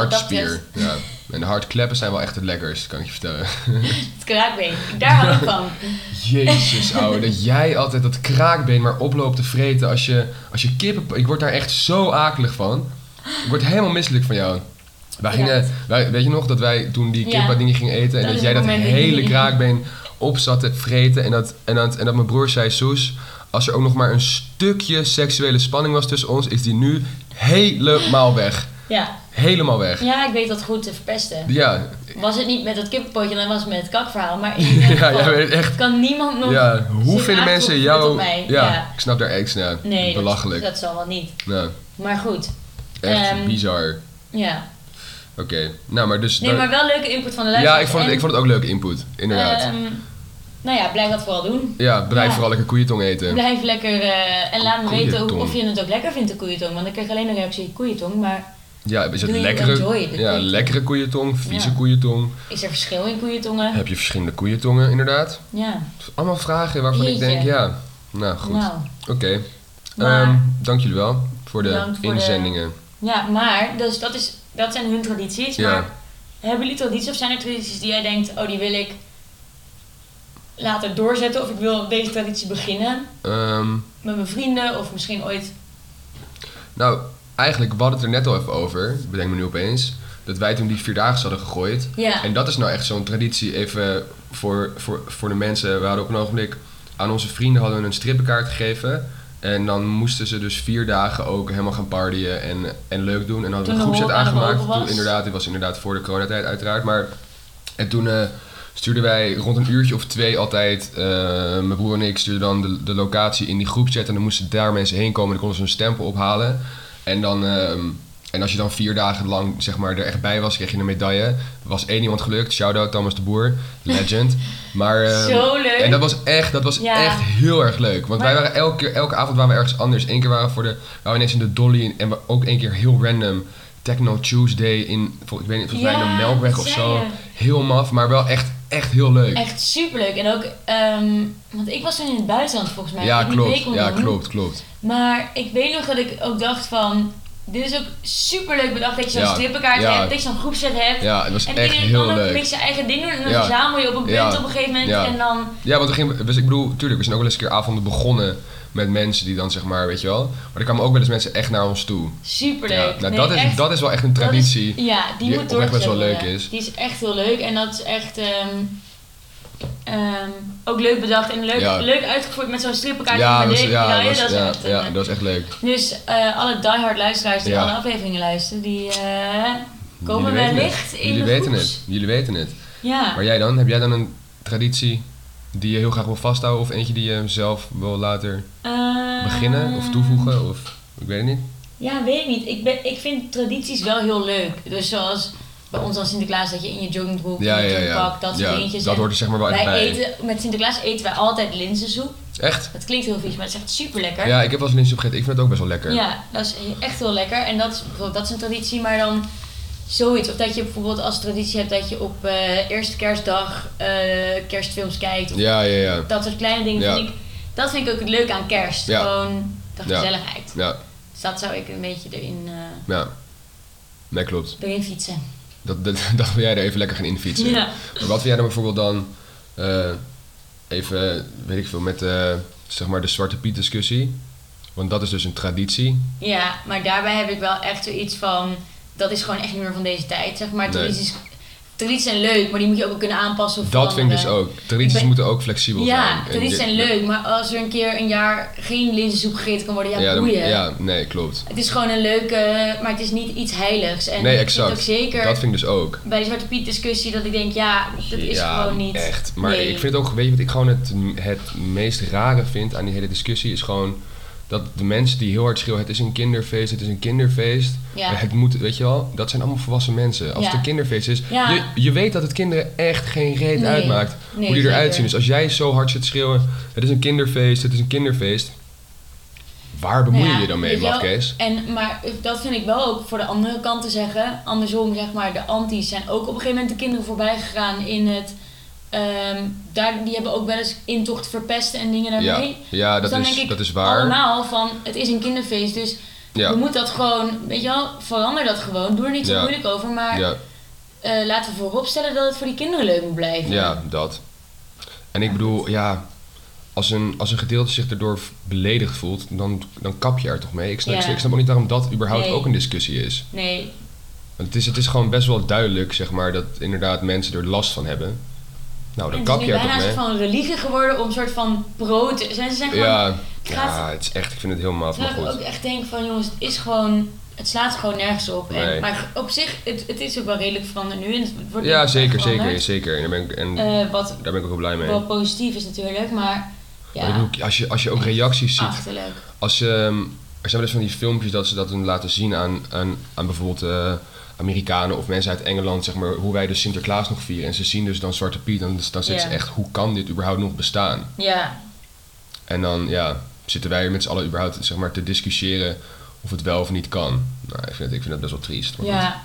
Speaker 3: Hartspier. Ja. En de hartkleppen zijn wel echt het lekkerst, kan ik je vertellen.
Speaker 2: Het kraakbeen. Daar hou ik van.
Speaker 3: (laughs) Jezus, ouwe, dat jij altijd dat kraakbeen maar oploopt te vreten als je, als je kippen... Ik word daar echt zo akelig van. Ik word helemaal misselijk van jou. Wij
Speaker 2: Ja.
Speaker 3: gingen, wij, weet je nog dat wij toen die
Speaker 2: Ja.
Speaker 3: kippadingen gingen eten en
Speaker 2: Dat
Speaker 3: dat,
Speaker 2: is
Speaker 3: jij
Speaker 2: het
Speaker 3: dat
Speaker 2: moment dat
Speaker 3: hele
Speaker 2: jullie-
Speaker 3: kraakbeen op zat te vreten en dat, en, dat, en dat mijn broer zei, Soes, Als er ook nog maar een stukje seksuele spanning was tussen ons, is die nu helemaal weg.
Speaker 2: Ja.
Speaker 3: Helemaal weg.
Speaker 2: ja, ik weet dat goed te verpesten.
Speaker 3: Ja,
Speaker 2: Was het niet met dat kippenpootje, dan was het met het kakverhaal.
Speaker 3: (laughs)
Speaker 2: Maar in ieder
Speaker 3: ja,
Speaker 2: geval
Speaker 3: jij bent echt.
Speaker 2: kan niemand nog...
Speaker 3: Ja, hoe
Speaker 2: zich
Speaker 3: vinden mensen
Speaker 2: aangetrokken voelen
Speaker 3: jou.
Speaker 2: tot mij.
Speaker 3: Ja,
Speaker 2: Ja.
Speaker 3: ik snap daar echt. Ja,
Speaker 2: Nee, dat-
Speaker 3: belachelijk.
Speaker 2: Dat, zal wel niet.
Speaker 3: Nou,
Speaker 2: Maar goed,
Speaker 3: echt
Speaker 2: Ehm,
Speaker 3: bizar. Oké,
Speaker 2: ja.
Speaker 3: nou, maar dus.
Speaker 2: Nee,
Speaker 3: daar-
Speaker 2: maar wel leuke input van de
Speaker 3: ja,
Speaker 2: luisteraars.
Speaker 3: ik vond, het,
Speaker 2: En,
Speaker 3: ik vond het ook leuke input, inderdaad.
Speaker 2: ehm, nou ja, blijf dat vooral doen.
Speaker 3: ja, blijf
Speaker 2: ja.
Speaker 3: vooral lekker koeientong eten.
Speaker 2: Blijf lekker eh, en laat me weten hoe-
Speaker 3: Koeientong.
Speaker 2: of je het ook lekker vindt, de koeientong. Want ik kreeg alleen een reactie koeientong, maar
Speaker 3: Ja, is het
Speaker 2: Doe je- enjoy
Speaker 3: lekkere,
Speaker 2: de
Speaker 3: ja,
Speaker 2: koeientong.
Speaker 3: lekkere koeientong, vieze
Speaker 2: Ja.
Speaker 3: koeientong.
Speaker 2: is er verschil in koeientongen?
Speaker 3: Heb je verschillende koeientongen, inderdaad?
Speaker 2: Ja,
Speaker 3: Allemaal vragen waarvan
Speaker 2: Jeetje.
Speaker 3: ik denk, ja. Nou, goed.
Speaker 2: nou.
Speaker 3: Oké.
Speaker 2: Maar-
Speaker 3: Ehm, dank jullie wel voor de
Speaker 2: Bedankt voor de-
Speaker 3: inzendingen.
Speaker 2: Ja, maar dus dat, is, dat zijn hun tradities.
Speaker 3: Ja.
Speaker 2: Maar hebben jullie tradities of zijn er tradities die jij denkt, oh die wil ik later doorzetten of ik wil deze traditie beginnen
Speaker 3: Ehm,
Speaker 2: met mijn vrienden of misschien ooit.
Speaker 3: nou, eigenlijk, we hadden het er net al even over, bedenk me nu opeens, dat wij toen die vierdaagse hadden gegooid.
Speaker 2: Ja,
Speaker 3: En dat is nou echt zo'n traditie, even voor, voor, voor de mensen. We hadden op een ogenblik aan onze vrienden hadden we een strippenkaart gegeven. En dan moesten ze dus vier dagen ook helemaal gaan partyen en, en leuk doen. En dan hadden we een
Speaker 2: Toen de
Speaker 3: groepset
Speaker 2: hol aan het
Speaker 3: aangemaakt.
Speaker 2: open was.
Speaker 3: Toen, inderdaad, dit was inderdaad voor de coronatijd uiteraard. Maar, en toen eh, stuurden wij rond een uurtje of twee altijd... eh, mijn broer en ik stuurden dan de, de locatie in die groepchat. En dan moesten daar mensen heen komen en dan konden ze een stempel ophalen. En dan... ehm, en als je dan vier dagen lang zeg maar, er echt bij was, kreeg je een medaille. Er was één iemand gelukt. Shout-out Thomas de Boer.
Speaker 2: (laughs)
Speaker 3: Legend. Maar, ehm,
Speaker 2: zo leuk.
Speaker 3: en dat was echt, dat was
Speaker 2: Ja.
Speaker 3: echt heel erg leuk. Want wij
Speaker 2: Maar-
Speaker 3: waren elke, keer, elke avond waren we ergens anders. Eén keer waren we, voor de, waren we ineens in de Dolly. En we ook één keer heel random. Techno Tuesday in, vol- ik weet niet, volgens mij in
Speaker 2: Ja,
Speaker 3: de Melkweg
Speaker 2: dat
Speaker 3: of
Speaker 2: zei
Speaker 3: zo.
Speaker 2: je.
Speaker 3: Heel maf, maar wel echt, echt heel leuk.
Speaker 2: Echt superleuk. En ook, ehm, want ik was toen in het buitenland volgens mij.
Speaker 3: ja,
Speaker 2: ik heb niet mee
Speaker 3: klopt.
Speaker 2: kon
Speaker 3: Ja,
Speaker 2: doen.
Speaker 3: klopt, klopt.
Speaker 2: Maar ik weet nog dat ik ook dacht van, dit is ook superleuk bedacht dat je zo'n
Speaker 3: Ja,
Speaker 2: strippenkaart
Speaker 3: ja.
Speaker 2: hebt, dat je zo'n groepset hebt.
Speaker 3: Ja, het was
Speaker 2: En
Speaker 3: echt
Speaker 2: iedereen
Speaker 3: heel
Speaker 2: kan ook een
Speaker 3: leuk.
Speaker 2: beetje zijn eigen ding doen en dan
Speaker 3: Ja.
Speaker 2: verzamel je op een punt
Speaker 3: Ja.
Speaker 2: op een gegeven moment
Speaker 3: Ja.
Speaker 2: en dan...
Speaker 3: Ja, want we gingen, dus ik bedoel, tuurlijk, we zijn ook wel eens een keer avonden begonnen met mensen die dan zeg maar, weet je wel. Maar er kwamen ook wel eens mensen echt naar ons toe.
Speaker 2: Superleuk.
Speaker 3: Ja, nou,
Speaker 2: Nee,
Speaker 3: dat, is,
Speaker 2: echt,
Speaker 3: dat is wel echt een
Speaker 2: dat is-
Speaker 3: traditie.
Speaker 2: ja,
Speaker 3: die
Speaker 2: die, moet
Speaker 3: oprecht
Speaker 2: doorgezet
Speaker 3: best wel leuk
Speaker 2: worden.
Speaker 3: is.
Speaker 2: Die is echt heel leuk en dat is echt ehm, ehm, ook leuk bedacht en leuk,
Speaker 3: Ja.
Speaker 2: leuk uitgevoerd met zo'n strippenkaart.
Speaker 3: Ja,
Speaker 2: en
Speaker 3: dat was,
Speaker 2: met
Speaker 3: ja,
Speaker 2: medaille.
Speaker 3: dat was,
Speaker 2: dat is
Speaker 3: ja,
Speaker 2: echt,
Speaker 3: ja,
Speaker 2: eh,
Speaker 3: dat was echt leuk.
Speaker 2: Dus eh, alle diehard luisteraars die
Speaker 3: Ja.
Speaker 2: alle afleveringen luisteren, die eh,
Speaker 3: Jullie
Speaker 2: komen
Speaker 3: weten
Speaker 2: wellicht
Speaker 3: het.
Speaker 2: in
Speaker 3: Jullie
Speaker 2: de
Speaker 3: weten
Speaker 2: groeps.
Speaker 3: het. Jullie weten het.
Speaker 2: Ja.
Speaker 3: Maar jij dan? Heb jij dan een traditie die je heel graag wil vasthouden? Of eentje die je zelf wil later
Speaker 2: Eh,
Speaker 3: beginnen of toevoegen? Of ik weet het niet.
Speaker 2: Ja, weet ik niet. Ik, ben, ik vind tradities wel heel leuk. Dus zoals bij ons dan Sinterklaas, dat je in je joggingbroek,
Speaker 3: Ja,
Speaker 2: in je
Speaker 3: ja, ja.
Speaker 2: jongpak, dat soort
Speaker 3: ja,
Speaker 2: dingetjes.
Speaker 3: dat
Speaker 2: En
Speaker 3: hoort er zeg maar wel echt
Speaker 2: wij
Speaker 3: bij.
Speaker 2: eten, met Sinterklaas eten wij altijd linzensoep.
Speaker 3: Echt?
Speaker 2: Dat klinkt heel vies, maar het is echt super lekker.
Speaker 3: Ja, ik heb wel eens linzen gegeten. Ik vind het ook best wel lekker.
Speaker 2: dat is he- echt heel lekker. En dat is, bijvoorbeeld- dat is een traditie, maar dan zoiets. Of dat je bijvoorbeeld als traditie hebt dat je op eh, eerste kerstdag eh, kerstfilms kijkt. Of
Speaker 3: ja, ja. ja.
Speaker 2: Dat soort kleine dingen
Speaker 3: Ja.
Speaker 2: vind ik. Dat vind ik ook het leuke aan kerst.
Speaker 3: Ja.
Speaker 2: Gewoon de
Speaker 3: Ja.
Speaker 2: gezelligheid.
Speaker 3: Ja,
Speaker 2: Dus dat zou ik een beetje erin, eh,
Speaker 3: ja. Nee, klopt.
Speaker 2: erin fietsen.
Speaker 3: Dat, (laughs) dat, dat wil jij er even lekker gaan infietsen.
Speaker 2: Ja.
Speaker 3: Maar wat wil jij dan bijvoorbeeld dan eh, even, weet ik veel, met eh, zeg maar de Zwarte Piet discussie? Want dat is dus een traditie.
Speaker 2: ja, maar daarbij heb ik wel echt zoiets van... Dat is gewoon echt niet meer van deze tijd, zeg maar.
Speaker 3: Nee.
Speaker 2: Tradities, tradities zijn leuk, maar die moet je ook wel kunnen aanpassen. Of
Speaker 3: Dat vind ik dus
Speaker 2: veranderen.
Speaker 3: ook. Tradities
Speaker 2: Ik ben-
Speaker 3: moeten ook flexibel zijn.
Speaker 2: Ja,
Speaker 3: En
Speaker 2: tradities
Speaker 3: je-
Speaker 2: zijn leuk, maar als er een keer een jaar geen linzensoep gegeten kan worden, ja,
Speaker 3: Ja, dan-
Speaker 2: boeien.
Speaker 3: ja, nee, klopt.
Speaker 2: Het is gewoon een leuke, maar het is niet iets heiligs. En
Speaker 3: nee,
Speaker 2: Ik
Speaker 3: exact.
Speaker 2: vind ook zeker
Speaker 3: Dat vind ik dus ook.
Speaker 2: bij de Zwarte Piet discussie dat ik denk, ja, dat is
Speaker 3: ja,
Speaker 2: gewoon niet...
Speaker 3: echt. Maar
Speaker 2: nee.
Speaker 3: ik vind het ook, weet je wat ik gewoon het, het meest rare vind aan die hele discussie? Is gewoon dat de mensen die heel hard schreeuwen, het is een kinderfeest, het is een kinderfeest.
Speaker 2: Ja.
Speaker 3: Het moet, weet je wel, dat zijn allemaal volwassen mensen. Als
Speaker 2: Ja.
Speaker 3: het een kinderfeest is,
Speaker 2: Ja.
Speaker 3: je, je weet dat het kinderen echt geen reet
Speaker 2: Nee.
Speaker 3: uitmaakt
Speaker 2: Nee,
Speaker 3: hoe die
Speaker 2: zeker.
Speaker 3: eruit zien. Dus als jij zo hard zit schreeuwen, het is een kinderfeest, het is een kinderfeest. Waar bemoei
Speaker 2: Nou ja,
Speaker 3: je je dan mee,
Speaker 2: weet je wel,
Speaker 3: Mafkees?
Speaker 2: En, maar dat vind ik wel ook voor de andere kant te zeggen. Andersom, zeg maar, de anti's zijn ook op een gegeven moment de kinderen voorbij gegaan in het... ehm, daar, die hebben ook wel eens intocht verpesten en dingen daarmee.
Speaker 3: Ja, ja
Speaker 2: Dus
Speaker 3: dat,
Speaker 2: dan denk
Speaker 3: is,
Speaker 2: ik
Speaker 3: dat is waar.
Speaker 2: Allemaal van, het is een kinderfeest, dus we
Speaker 3: ja.
Speaker 2: moeten dat gewoon... Weet je wel, verander dat gewoon. Doe er niet zo
Speaker 3: Ja.
Speaker 2: moeilijk over, maar
Speaker 3: ja.
Speaker 2: eh, laten we vooropstellen dat het voor die kinderen leuk moet blijven.
Speaker 3: Ja, dat. En ik bedoel, ja, als een, als een gedeelte zich erdoor beledigd voelt, dan, dan kap je er toch mee. Ik snap,
Speaker 2: Ja.
Speaker 3: ik snap ook niet waarom dat überhaupt
Speaker 2: Nee.
Speaker 3: ook een discussie is.
Speaker 2: Nee,
Speaker 3: Want het is, het is gewoon best wel duidelijk, zeg maar, dat inderdaad mensen er last van hebben. Nou, dan
Speaker 2: en het
Speaker 3: kap
Speaker 2: is
Speaker 3: je
Speaker 2: nu
Speaker 3: er
Speaker 2: bijna
Speaker 3: toch
Speaker 2: een
Speaker 3: mee.
Speaker 2: soort van religie geworden om een soort van pro te... Ze zijn gewoon
Speaker 3: Ja, Ja, het is echt, ik vind het heel maf, maar
Speaker 2: Terwijl ik
Speaker 3: goed.
Speaker 2: ook echt denk van jongens, het is gewoon, het slaat gewoon nergens op.
Speaker 3: Nee.
Speaker 2: En, maar op zich, het, het is ook wel redelijk veranderd nu en het wordt
Speaker 3: Ja,
Speaker 2: ook
Speaker 3: zeker, zeker,
Speaker 2: veranderd.
Speaker 3: zeker. En daar ben ik, en
Speaker 2: Eh, wat
Speaker 3: daar ben ik ook wel blij mee.
Speaker 2: wel positief is natuurlijk, maar
Speaker 3: Maar ik
Speaker 2: ja, Ah.
Speaker 3: bedoel, als, je, als je ook reacties ziet
Speaker 2: achterlijk.
Speaker 3: Als je, ehm, er zijn wel eens van die filmpjes dat ze dat hun laten zien aan, aan, aan bijvoorbeeld eh, Amerikanen of mensen uit Engeland, zeg maar, hoe wij dus Sinterklaas nog vieren. En ze zien dus dan Zwarte Piet en dan zitten ze
Speaker 2: Ja.
Speaker 3: echt, hoe kan dit überhaupt nog bestaan?
Speaker 2: Ja,
Speaker 3: En dan, ja, zitten wij er met z'n allen überhaupt, zeg maar, te discussiëren of het wel of niet kan. Nou, ik vind het, ik vind het best wel triest. Maar, goed.
Speaker 2: ja,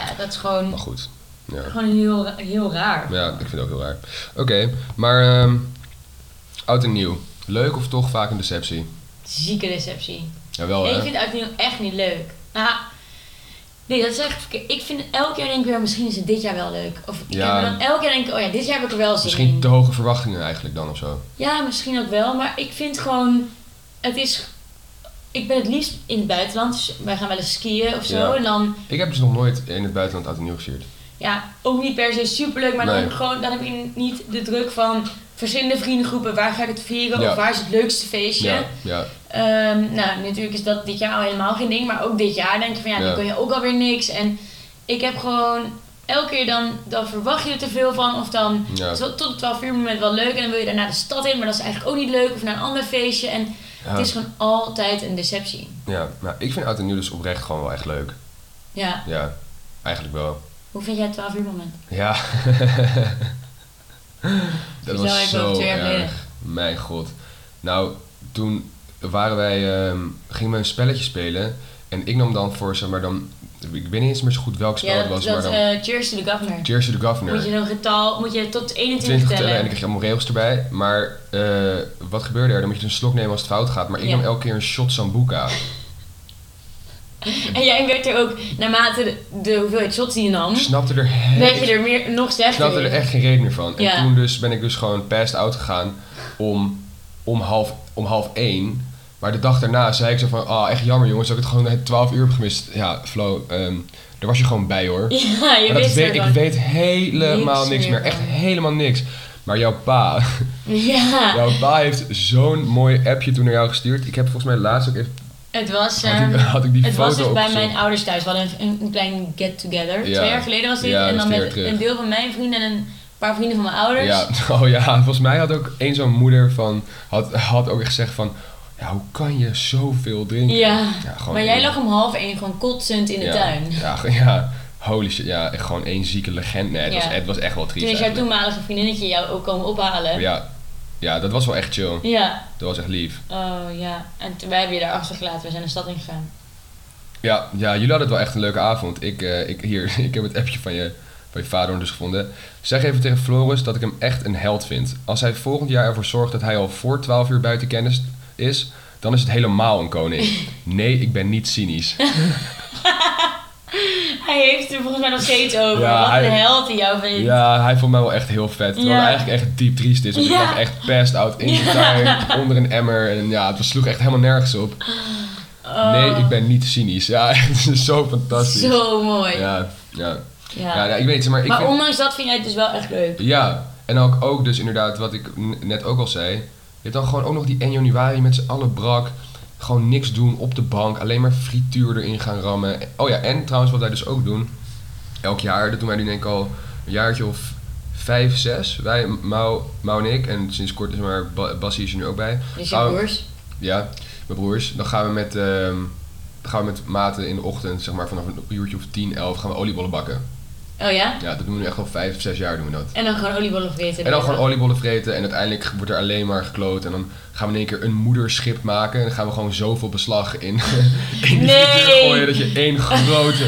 Speaker 2: ja, dat is gewoon,
Speaker 3: maar goed, ja.
Speaker 2: gewoon heel, heel raar.
Speaker 3: Ja, ik vind het ook heel raar. Oké, maar ehm, oud en nieuw. Leuk of toch vaak een deceptie?
Speaker 2: Zieke deceptie.
Speaker 3: Jawel,
Speaker 2: Nee,
Speaker 3: Oh, hè?
Speaker 2: ik vind het uitnieuw echt niet leuk. Nou, nee, dat is echt verkeerd. Ik vind elk jaar denk ik weer, misschien is het dit jaar wel leuk. Of ik
Speaker 3: Ja.
Speaker 2: heb er dan elk jaar denk ik, oh ja, dit jaar heb ik er wel zin in.
Speaker 3: Misschien te hoge verwachtingen eigenlijk dan of zo.
Speaker 2: Ja, misschien ook wel, maar ik vind gewoon, het is, ik ben het liefst in het buitenland, dus wij gaan wel eens skiën of zo.
Speaker 3: Ja.
Speaker 2: En dan,
Speaker 3: Ik heb dus nog nooit in het buitenland oud en nieuw gevierd.
Speaker 2: ja, ook niet per se superleuk, maar
Speaker 3: Nee.
Speaker 2: dan, gewoon, dan heb ik niet de druk van verschillende vriendengroepen, waar ga ik het vieren
Speaker 3: Ja.
Speaker 2: of waar is het leukste feestje.
Speaker 3: Ja, ja,
Speaker 2: Ehm, nou, natuurlijk is dat dit jaar al helemaal geen ding, maar ook dit jaar denk je van ja,
Speaker 3: Ja.
Speaker 2: dan kun je ook alweer niks. En ik heb gewoon elke keer dan, dan verwacht je er te veel van, of dan
Speaker 3: ja.
Speaker 2: tot, tot het 12 uur moment wel leuk en dan wil je daarna de stad in, maar dat is eigenlijk ook niet leuk, of naar een ander feestje. En
Speaker 3: Ja,
Speaker 2: het is gewoon altijd een deceptie.
Speaker 3: ja. Nou, ik vind oud en nieuw dus oprecht gewoon wel echt leuk.
Speaker 2: Ja,
Speaker 3: Ja, eigenlijk wel.
Speaker 2: hoe vind jij het 12 uur moment? (laughs)
Speaker 3: Ja. (laughs) dat
Speaker 2: Vertel
Speaker 3: was
Speaker 2: even over
Speaker 3: zo
Speaker 2: twee jaar geleden.
Speaker 3: erg. Mijn god. Nou, toen waren wij, ehm, gingen we een spelletje spelen. En ik nam dan voor, zeg maar dan... Ik weet niet eens meer zo goed welk spel
Speaker 2: Ja,
Speaker 3: het was,
Speaker 2: dat, dat
Speaker 3: maar dan...
Speaker 2: eh, Cheers to the Governor.
Speaker 3: Cheers to the Governor.
Speaker 2: Moet je een getal, moet je tot 21
Speaker 3: 20 tellen en dan
Speaker 2: tellen.
Speaker 3: krijg je allemaal regels erbij. Maar eh, wat gebeurde er? Dan moet je een slok nemen als het fout gaat. Maar ik
Speaker 2: Ja.
Speaker 3: nam elke keer een shot Sambuca.
Speaker 2: En jij werd er ook, naarmate de, de hoeveelheid shots die je nam,
Speaker 3: Ik snapte er, he-
Speaker 2: werd je er meer, nog
Speaker 3: ik snapte er
Speaker 2: slechter in.
Speaker 3: echt geen reden meer van. En
Speaker 2: Ja.
Speaker 3: toen dus ben ik dus gewoon past out gegaan om, om, half, om half één. Maar de dag daarna zei ik zo van, ah echt jammer jongens dat ik het gewoon het 12 uur heb gemist. Ja, Flo, ehm, daar was je gewoon bij hoor.
Speaker 2: (laughs) Ja, je
Speaker 3: Maar dat
Speaker 2: wist
Speaker 3: weet,
Speaker 2: er
Speaker 3: ik
Speaker 2: gewoon.
Speaker 3: weet helemaal niks,
Speaker 2: Niks
Speaker 3: meer.
Speaker 2: meer
Speaker 3: Echt
Speaker 2: van.
Speaker 3: helemaal niks. Maar jouw pa, (laughs)
Speaker 2: Ja,
Speaker 3: jouw pa heeft zo'n mooi appje toen naar jou gestuurd. Ik heb volgens mij laatst ook even
Speaker 2: het was,
Speaker 3: Had ik,
Speaker 2: ehm,
Speaker 3: had ik die
Speaker 2: het
Speaker 3: foto
Speaker 2: was dus bij
Speaker 3: opgezocht.
Speaker 2: mijn ouders thuis. We hadden een, een, een klein get-together.
Speaker 3: Ja.
Speaker 2: Twee jaar geleden was dit.
Speaker 3: Ja, dat
Speaker 2: en
Speaker 3: is
Speaker 2: dan
Speaker 3: twee
Speaker 2: met
Speaker 3: jaar terug.
Speaker 2: een deel van mijn vrienden en een paar vrienden van mijn ouders.
Speaker 3: Ja, (laughs) oh ja, volgens mij had ook één zo'n moeder van, had, had ook echt gezegd van, ja, hoe kan je zoveel drinken?
Speaker 2: Ja,
Speaker 3: gewoon
Speaker 2: maar jij
Speaker 3: één-
Speaker 2: lag om half één gewoon kotsend in de
Speaker 3: ja,
Speaker 2: tuin.
Speaker 3: Ja, ge- ja, holy shit, ja, echt gewoon één zieke legend. Nee, het,
Speaker 2: Ja.
Speaker 3: was, het was echt wel triest
Speaker 2: Toen is jouw
Speaker 3: eigenlijk.
Speaker 2: toenmalige vriendinnetje jou ook komen ophalen. Ja.
Speaker 3: Ja, ja, dat was wel echt chill. Dat was echt lief.
Speaker 2: Oh ja. En toen, wij hebben je daar achtergelaten. We zijn de stad ingegaan.
Speaker 3: Ja, ja, jullie hadden het wel echt een leuke avond. Ik, eh, ik, hier, (laughs) ik heb het appje van je, van je vader dus gevonden. Zeg even tegen Floris dat ik hem echt een held vind. Als hij volgend jaar ervoor zorgt dat hij al voor 12 uur buiten kennis is, dan is het helemaal een
Speaker 2: (laughs)
Speaker 3: koning. Nee, ik ben niet cynisch.
Speaker 2: Hij heeft er volgens mij nog steeds over.
Speaker 3: Ja,
Speaker 2: Wat
Speaker 3: hij-
Speaker 2: een held die jou vindt.
Speaker 3: Ja, hij vond mij wel echt heel vet. Terwijl
Speaker 2: Ja.
Speaker 3: hij eigenlijk echt diep triest is. Want ik
Speaker 2: Ja.
Speaker 3: lag echt pest out in zijn
Speaker 2: (laughs) Ja.
Speaker 3: tuin, onder een emmer. En ja, het sloeg echt helemaal nergens op.
Speaker 2: Oh,
Speaker 3: Nee, ik ben niet cynisch. Ja, (laughs) het is zo fantastisch.
Speaker 2: Zo mooi. Ja.
Speaker 3: Ja, ja. ja, ja, ik weet het, maar ik
Speaker 2: maar
Speaker 3: vind-
Speaker 2: ondanks dat vind jij het dus wel echt leuk.
Speaker 3: Ja, en ook, ook dus inderdaad wat ik n- net ook al zei. Je hebt dan gewoon ook nog die 1 januari met z'n allen brak. Gewoon niks doen op de bank. Alleen maar frituur erin gaan rammen. Oh ja, en trouwens wat wij dus ook doen. Elk jaar, dat doen wij nu denk ik al een jaartje of vijf, zes. Wij, Mau, Mau en ik. En sinds kort is maar Ba- Bassie is er nu ook bij.
Speaker 2: Dus
Speaker 3: Oh.
Speaker 2: jouw broers.
Speaker 3: Ja, mijn broers. Dan gaan we met, ehm, dan gaan we met maten in de ochtend, zeg maar vanaf een uurtje of 10, 11, gaan we oliebollen bakken.
Speaker 2: Oh ja?
Speaker 3: Ja, dat doen we nu echt al vijf of zes jaar doen we dat.
Speaker 2: En dan gewoon oliebollen vreten.
Speaker 3: En dan gewoon oliebollen vreten en uiteindelijk wordt er alleen maar gekloot. En dan gaan we in één keer een moederschip maken. En dan gaan we gewoon zoveel beslag in, (laughs) in die (laughs)
Speaker 2: Nee.
Speaker 3: frituur gooien dat je één
Speaker 2: (laughs)
Speaker 3: grote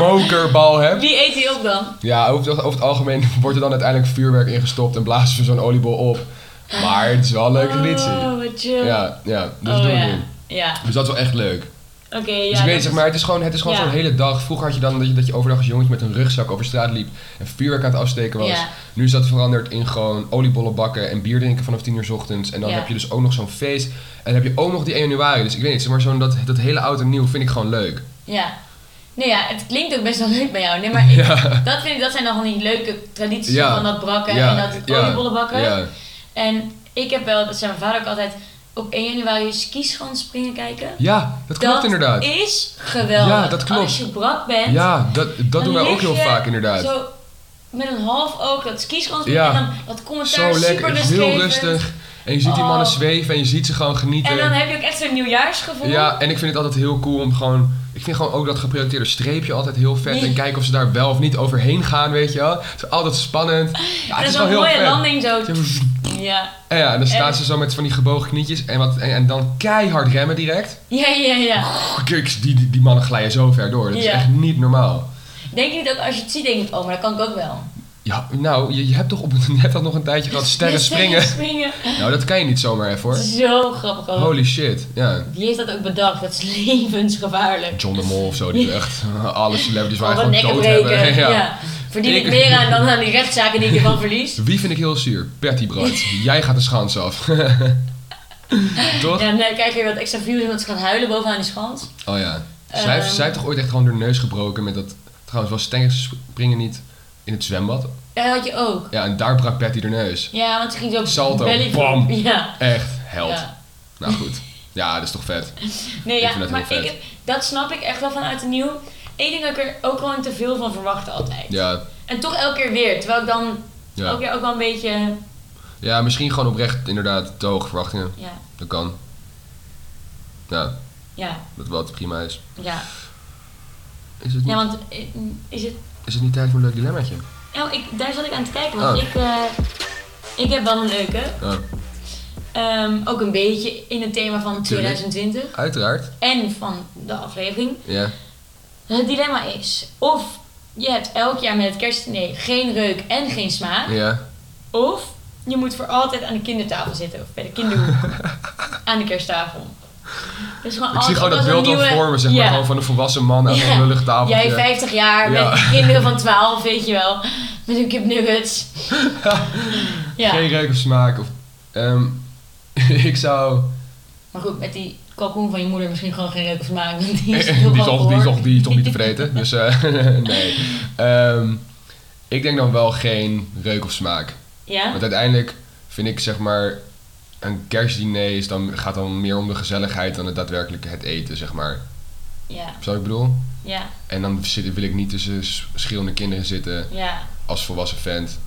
Speaker 3: mokerbal hebt.
Speaker 2: Wie eet die op dan?
Speaker 3: Ja, over het, over het algemeen (laughs) wordt er dan uiteindelijk vuurwerk ingestopt en blazen we zo'n oliebol op. Maar het is wel een leuke traditie.
Speaker 2: Oh, wat chill.
Speaker 3: Ja, ja, dus
Speaker 2: oh,
Speaker 3: dat doen we
Speaker 2: ja.
Speaker 3: nu.
Speaker 2: Ja,
Speaker 3: Dus dat is wel echt leuk.
Speaker 2: oké.
Speaker 3: dus
Speaker 2: ja,
Speaker 3: ik weet,
Speaker 2: dat
Speaker 3: zeg
Speaker 2: is-
Speaker 3: maar, het is gewoon, het is gewoon
Speaker 2: Ja.
Speaker 3: zo'n hele dag. Vroeger had je dan dat je, dat je overdag als jongetje met een rugzak over straat liep en vuurwerk aan het afsteken was.
Speaker 2: Ja.
Speaker 3: Nu is dat veranderd in gewoon oliebollen bakken en bier drinken vanaf 10 uur 's ochtends. En dan
Speaker 2: Ja.
Speaker 3: heb je dus ook nog zo'n feest. En dan heb je ook nog die 1 januari. Dus ik weet niet, zeg maar, zo'n, dat, dat hele oud en nieuw vind ik gewoon leuk.
Speaker 2: Ja. Nee, ja, het klinkt ook best wel leuk bij jou. Nee, maar ik-
Speaker 3: Ja.
Speaker 2: dat, vind ik, dat zijn dan gewoon die leuke tradities
Speaker 3: Ja.
Speaker 2: van dat brakken en dat oliebollen bakken.
Speaker 3: Ja.
Speaker 2: En ik heb wel, dat zei mijn vader ook altijd, op 1 januari skis gaan springen kijken.
Speaker 3: Ja, dat klopt
Speaker 2: dat
Speaker 3: inderdaad.
Speaker 2: is geweldig.
Speaker 3: Ja, dat klopt.
Speaker 2: Als je brak bent,
Speaker 3: Ja, dat, dat
Speaker 2: dan
Speaker 3: doen wij
Speaker 2: lig
Speaker 3: ook heel
Speaker 2: je
Speaker 3: vaak inderdaad.
Speaker 2: zo met een half oog dat skis gaan springen
Speaker 3: Ja.
Speaker 2: en dan dat commentaar
Speaker 3: Zo lekker,
Speaker 2: super
Speaker 3: het is heel
Speaker 2: rustgevend.
Speaker 3: rustig. En je ziet die
Speaker 2: Oh.
Speaker 3: mannen zweven en je ziet ze gewoon genieten.
Speaker 2: En dan heb je ook echt zo'n nieuwjaarsgevoel.
Speaker 3: ja, en ik vind het altijd heel cool om gewoon... Ik vind gewoon ook dat geprojecteerde streepje altijd heel vet.
Speaker 2: Nee.
Speaker 3: En kijken of ze daar wel of niet overheen gaan, weet je wel. Het is altijd
Speaker 2: (laughs)
Speaker 3: spannend. Ja,
Speaker 2: dat
Speaker 3: het is
Speaker 2: is een
Speaker 3: wel heel
Speaker 2: mooie
Speaker 3: vet.
Speaker 2: landing zo.
Speaker 3: Zo-
Speaker 2: Ja.
Speaker 3: En ja, en dan staan
Speaker 2: En-
Speaker 3: ze zo met van die gebogen knietjes. En, wat, en, en dan keihard remmen direct.
Speaker 2: Ja, ja, ja.
Speaker 3: Kijk, die, die, die mannen glijden zo ver door. Dat is
Speaker 2: Ja.
Speaker 3: echt niet normaal.
Speaker 2: Denk je niet ook als je het ziet, denk je, oh, maar dat kan ik ook wel.
Speaker 3: Ja, nou, je, je hebt toch op het (laughs) net al nog een tijdje
Speaker 2: (laughs)
Speaker 3: gehad sterren
Speaker 2: Ja,
Speaker 3: springen.
Speaker 2: springen.
Speaker 3: Nou, dat kan je niet zomaar even hoor.
Speaker 2: Zo grappig ook.
Speaker 3: Holy shit, ja.
Speaker 2: Wie heeft dat ook bedacht? Dat is levensgevaarlijk.
Speaker 3: John de Mol of zo,
Speaker 2: (laughs)
Speaker 3: die is echt alle celebrities waar
Speaker 2: Al
Speaker 3: gewoon
Speaker 2: nekken
Speaker 3: dood
Speaker 2: breken.
Speaker 3: hebben.
Speaker 2: Ja.
Speaker 3: (laughs) Ja.
Speaker 2: Verdien ik
Speaker 3: Ik-
Speaker 2: meer aan dan aan die rechtszaken die ik ervan verlies?
Speaker 3: Wie vind ik heel zuur? Patty Brandt. Jij gaat de schans af. (laughs) Toch?
Speaker 2: Ja, nee, kijk je wat extra views omdat ze gaan huilen bovenaan die schans.
Speaker 3: Oh ja. Zij,
Speaker 2: Ehm.
Speaker 3: heeft, zij heeft toch ooit echt gewoon haar neus gebroken met dat... Trouwens, was stengers springen niet in het zwembad?
Speaker 2: Ja, dat had je ook.
Speaker 3: Ja, en daar brak Patty haar neus.
Speaker 2: Ja, want ze ging zo op
Speaker 3: Salto,
Speaker 2: belly-
Speaker 3: bam.
Speaker 2: (laughs) Ja.
Speaker 3: Echt, held.
Speaker 2: Ja.
Speaker 3: Nou goed. Ja, dat is toch vet.
Speaker 2: Nee,
Speaker 3: Ik
Speaker 2: ja,
Speaker 3: vind dat
Speaker 2: maar
Speaker 3: heel vet.
Speaker 2: ik, dat snap ik echt wel vanuit de nieuw. Eén ding dat ik er ook gewoon te veel van verwachtte altijd.
Speaker 3: Ja,
Speaker 2: En toch elke keer weer. Terwijl ik dan elke
Speaker 3: ja.
Speaker 2: keer ook wel een beetje...
Speaker 3: ja misschien gewoon oprecht inderdaad te hoge verwachtingen.
Speaker 2: Ja,
Speaker 3: Dat kan. Ja,
Speaker 2: ja,
Speaker 3: dat wat prima is.
Speaker 2: ja.
Speaker 3: Is het niet,
Speaker 2: Ja, want eh, is het...
Speaker 3: is het niet tijd voor een leuk dilemmaatje?
Speaker 2: Nou, ik, daar zat ik aan te kijken. Want
Speaker 3: Oh.
Speaker 2: ik, eh, ik heb wel een leuke.
Speaker 3: Oh,
Speaker 2: Ehm, ook een beetje in het thema van 2020.
Speaker 3: uiteraard.
Speaker 2: En van de aflevering.
Speaker 3: Ja.
Speaker 2: Het dilemma is... Of je hebt elk jaar met het kerstdiner geen reuk en geen smaak.
Speaker 3: Ja.
Speaker 2: Of je moet voor altijd aan de kindertafel zitten. Of bij de kinderhoek.
Speaker 3: (laughs)
Speaker 2: aan de kersttafel. Dus gewoon
Speaker 3: Ik zie gewoon dat beeld al voor me, zeg maar. Gewoon van een volwassen man aan
Speaker 2: Ja.
Speaker 3: een lullig tafeltje.
Speaker 2: Jij
Speaker 3: (laughs)
Speaker 2: 50 jaar
Speaker 3: Ja.
Speaker 2: met kinderen van 12, weet je wel. Met hun kipnuggets. ja.
Speaker 3: Geen reuk of smaak. Of, ehm, (laughs) ik zou...
Speaker 2: Maar goed, met die kalkoen van je moeder misschien gewoon geen reuk of smaak. want Die
Speaker 3: Die (laughs)
Speaker 2: is
Speaker 3: is,
Speaker 2: heel wat
Speaker 3: toch, die, is
Speaker 2: voor.
Speaker 3: toch, die is toch niet te vreten. Dus eh, (laughs) nee. Ehm, ik denk dan wel geen reuk of smaak.
Speaker 2: Ja?
Speaker 3: Want uiteindelijk vind ik zeg maar... Een kerstdiner is dan, gaat dan meer om de gezelligheid dan het daadwerkelijk het eten, zeg maar.
Speaker 2: Ja,
Speaker 3: Zo ik bedoel?
Speaker 2: ja,
Speaker 3: En dan zit, wil ik niet tussen s- schreeuwende kinderen zitten
Speaker 2: ja.
Speaker 3: als volwassen vent.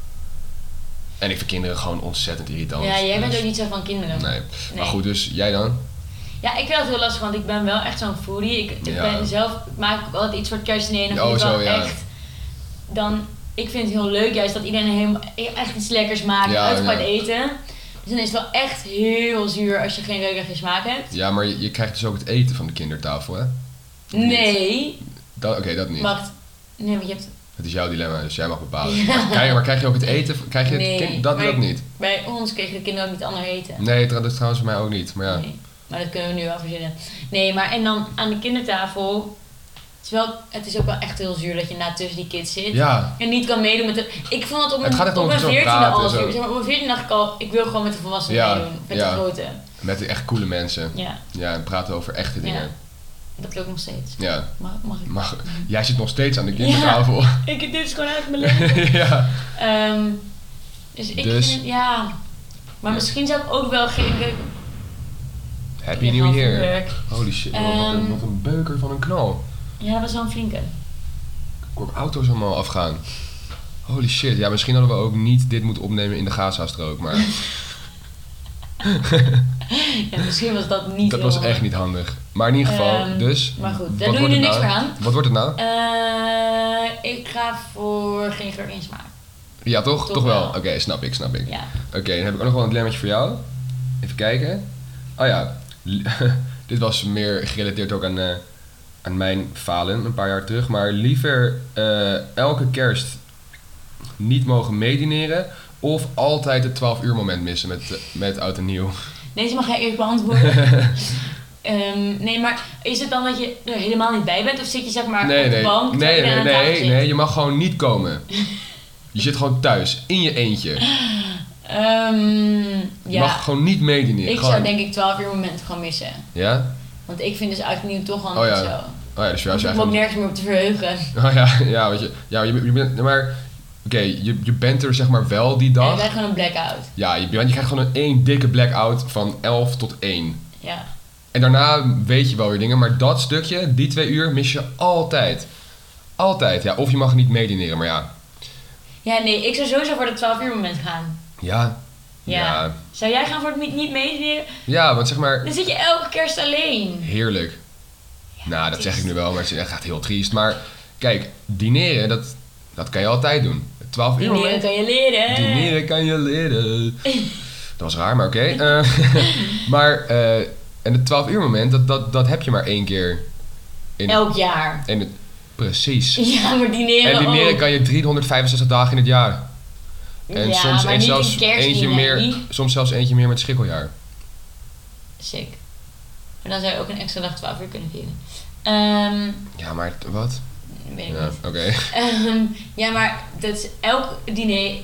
Speaker 3: En ik vind kinderen gewoon ontzettend irritant.
Speaker 2: Ja, jij bent
Speaker 3: Dus-
Speaker 2: ook niet zo van kinderen.
Speaker 3: Nee.
Speaker 2: Nee.
Speaker 3: Maar goed, dus jij dan?
Speaker 2: Ja, ik vind dat heel lastig, want ik ben wel echt zo'n foodie. Ik, ik
Speaker 3: Ja.
Speaker 2: ben zelf, ik maak ook altijd iets voor het kerstdiner. En dan
Speaker 3: Oh,
Speaker 2: vind ik wel
Speaker 3: zo, ja.
Speaker 2: echt, dan, ik vind het heel leuk juist dat iedereen helemaal, echt iets lekkers maakt,
Speaker 3: Ja,
Speaker 2: uitgebreid
Speaker 3: ja.
Speaker 2: eten. Dus dan is het wel echt heel zuur als je geen reuk en geen smaak hebt.
Speaker 3: Ja, maar je, je krijgt dus ook het eten van de kindertafel, hè? niet?
Speaker 2: Nee,
Speaker 3: Dat- Oké, dat niet.
Speaker 2: wacht. Nee, want je hebt
Speaker 3: Het is jouw dilemma, dus jij mag bepalen.
Speaker 2: Ja.
Speaker 3: Maar, krijg, je- maar krijg je ook het eten? Krijg je het
Speaker 2: Nee,
Speaker 3: kind? Dat,
Speaker 2: maar-
Speaker 3: dat niet.
Speaker 2: bij ons kregen de kinderen ook niet ander eten.
Speaker 3: Nee, tr- dat is trouwens bij mij ook niet. Maar ja.
Speaker 2: Nee, maar dat kunnen we nu wel verzinnen. Nee, maar en dan aan de kindertafel. Het is, wel, het is ook wel echt heel zuur dat je na tussen die kids zit.
Speaker 3: Ja,
Speaker 2: En niet kan meedoen met de... Ik vond dat op mijn,
Speaker 3: gaat echt
Speaker 2: op
Speaker 3: om
Speaker 2: mijn
Speaker 3: zo
Speaker 2: 14e
Speaker 3: praten
Speaker 2: al
Speaker 3: en zo.
Speaker 2: zuur. Zeg maar, op mijn 14 dacht ik al, ik wil gewoon met de volwassenen
Speaker 3: Ja,
Speaker 2: meedoen. Met
Speaker 3: ja.
Speaker 2: de grote.
Speaker 3: met echt coole mensen.
Speaker 2: Ja,
Speaker 3: Ja, en praten over echte dingen.
Speaker 2: dat lukt nog steeds.
Speaker 3: Ja.
Speaker 2: Mag, mag ik?
Speaker 3: (laughs) Maar jij zit nog steeds aan de kindertafel. (laughs) Ja.
Speaker 2: Ik, dit is gewoon uit
Speaker 3: (laughs)
Speaker 2: mijn leven. Ehm, dus ik
Speaker 3: Dus-
Speaker 2: vind het, ja... Maar
Speaker 3: Ja.
Speaker 2: misschien zou ik ook wel geen... ik-
Speaker 3: Happy
Speaker 2: ik heb
Speaker 3: New
Speaker 2: wel veel
Speaker 3: Year.
Speaker 2: werk.
Speaker 3: Holy shit, wat een,
Speaker 2: Ehm.
Speaker 3: wat een beuker van een knal.
Speaker 2: Ja, dat was wel een flinke. (laughs)
Speaker 3: Ik hoor auto's allemaal afgaan. Holy shit, ja, misschien hadden we ook niet dit moeten opnemen in de Gaza-strook, maar
Speaker 2: Ja, misschien was dat (laughs) niet
Speaker 3: dat
Speaker 2: heel
Speaker 3: was echt niet handig. Maar in ieder geval,
Speaker 2: Ehm,
Speaker 3: dus.
Speaker 2: maar goed, daar
Speaker 3: wat
Speaker 2: doen
Speaker 3: wordt het
Speaker 2: jullie niks
Speaker 3: nou?
Speaker 2: meer aan.
Speaker 3: Wat wordt het nou?
Speaker 2: Eh, ik ga voor geen geur in smaak.
Speaker 3: Ja, toch?
Speaker 2: Toch
Speaker 3: Toch, wel.
Speaker 2: wel.
Speaker 3: Oké, snap ik, snap ik.
Speaker 2: Ja.
Speaker 3: Oké, dan heb ik ook nog wel een dilemmaatje voor jou. Even kijken. Oh ja, (laughs) li- dit was meer gerelateerd ook aan, eh, aan mijn falen een paar jaar terug. Maar liever eh, elke kerst niet mogen meedineren of altijd het 12 uur moment missen met, eh, met oud en nieuw.
Speaker 2: Deze mag jij eerst beantwoorden.
Speaker 3: (laughs)
Speaker 2: Ehm, nee, maar is het dan dat je er helemaal niet bij bent? Of zit je zeg maar
Speaker 3: nee,
Speaker 2: op de
Speaker 3: nee,
Speaker 2: bank? terwijl
Speaker 3: nee, nee,
Speaker 2: iedereen aan
Speaker 3: nee,
Speaker 2: tafel
Speaker 3: nee, je mag gewoon niet
Speaker 2: (laughs)
Speaker 3: komen. Je zit gewoon thuis, in je eentje.
Speaker 2: zit? Ehm,
Speaker 3: Je
Speaker 2: ja,
Speaker 3: mag gewoon niet meedineren.
Speaker 2: ik
Speaker 3: gewoon.
Speaker 2: zou denk ik 12 uur moment gaan missen.
Speaker 3: Ja?
Speaker 2: Want ik vind dus oud en nieuw toch wel
Speaker 3: Oh
Speaker 2: niet
Speaker 3: ja,
Speaker 2: zo.
Speaker 3: Oh ja, dus voor jou is
Speaker 2: ik
Speaker 3: eigenlijk (laughs)
Speaker 2: heb ook nergens meer op te verheugen.
Speaker 3: Oh ja, ja, weet je, ja je, je bent, maar je, je bent er zeg maar wel die
Speaker 2: Ja, je
Speaker 3: dag.
Speaker 2: krijgt gewoon een blackout.
Speaker 3: Ja, je, want je krijgt gewoon een één dikke blackout van 11 tot 1.
Speaker 2: Ja.
Speaker 3: En daarna weet je wel weer dingen, maar dat stukje, die twee uur, mis je altijd. Altijd, ja. Of je mag niet meedineren, maar ja.
Speaker 2: Ja, nee, ik zou sowieso voor dat 12 uur moment gaan.
Speaker 3: Ja.
Speaker 2: Ja.
Speaker 3: Ja,
Speaker 2: Zou jij gaan voor het niet, niet meedelen?
Speaker 3: ja want zeg maar,
Speaker 2: Dan zit je elke kerst alleen.
Speaker 3: heerlijk. nou, dat zeg ik nu wel, maar het is echt echt heel triest. Maar kijk, dineren, dat, dat kan je altijd doen. 12 uur.
Speaker 2: Dineren
Speaker 3: moment.
Speaker 2: kan je leren.
Speaker 3: Dineren kan je leren. Dat
Speaker 2: (laughs)
Speaker 3: was raar, maar oké. Eh, (laughs) maar, eh, en het 12 uur moment, dat, dat, dat heb je maar één keer. In
Speaker 2: Elk jaar. (laughs)
Speaker 3: En het, precies.
Speaker 2: Ja, maar dineren
Speaker 3: En dineren
Speaker 2: ook.
Speaker 3: kan je 365 dagen in het jaar. En
Speaker 2: ja,
Speaker 3: soms,
Speaker 2: maar
Speaker 3: en
Speaker 2: niet
Speaker 3: zelfs
Speaker 2: een kerstdiner,
Speaker 3: eentje meer,
Speaker 2: niet?
Speaker 3: soms zelfs eentje meer met schikkeljaar.
Speaker 2: Sick. Maar dan zou je ook een extra dag 12 uur kunnen vieren. Ehm,
Speaker 3: Ja, maar t- wat?
Speaker 2: weet ik
Speaker 3: Ja,
Speaker 2: niet.
Speaker 3: oké.
Speaker 2: (laughs)
Speaker 3: (laughs)
Speaker 2: Ehm, ja, maar dat is- elk diner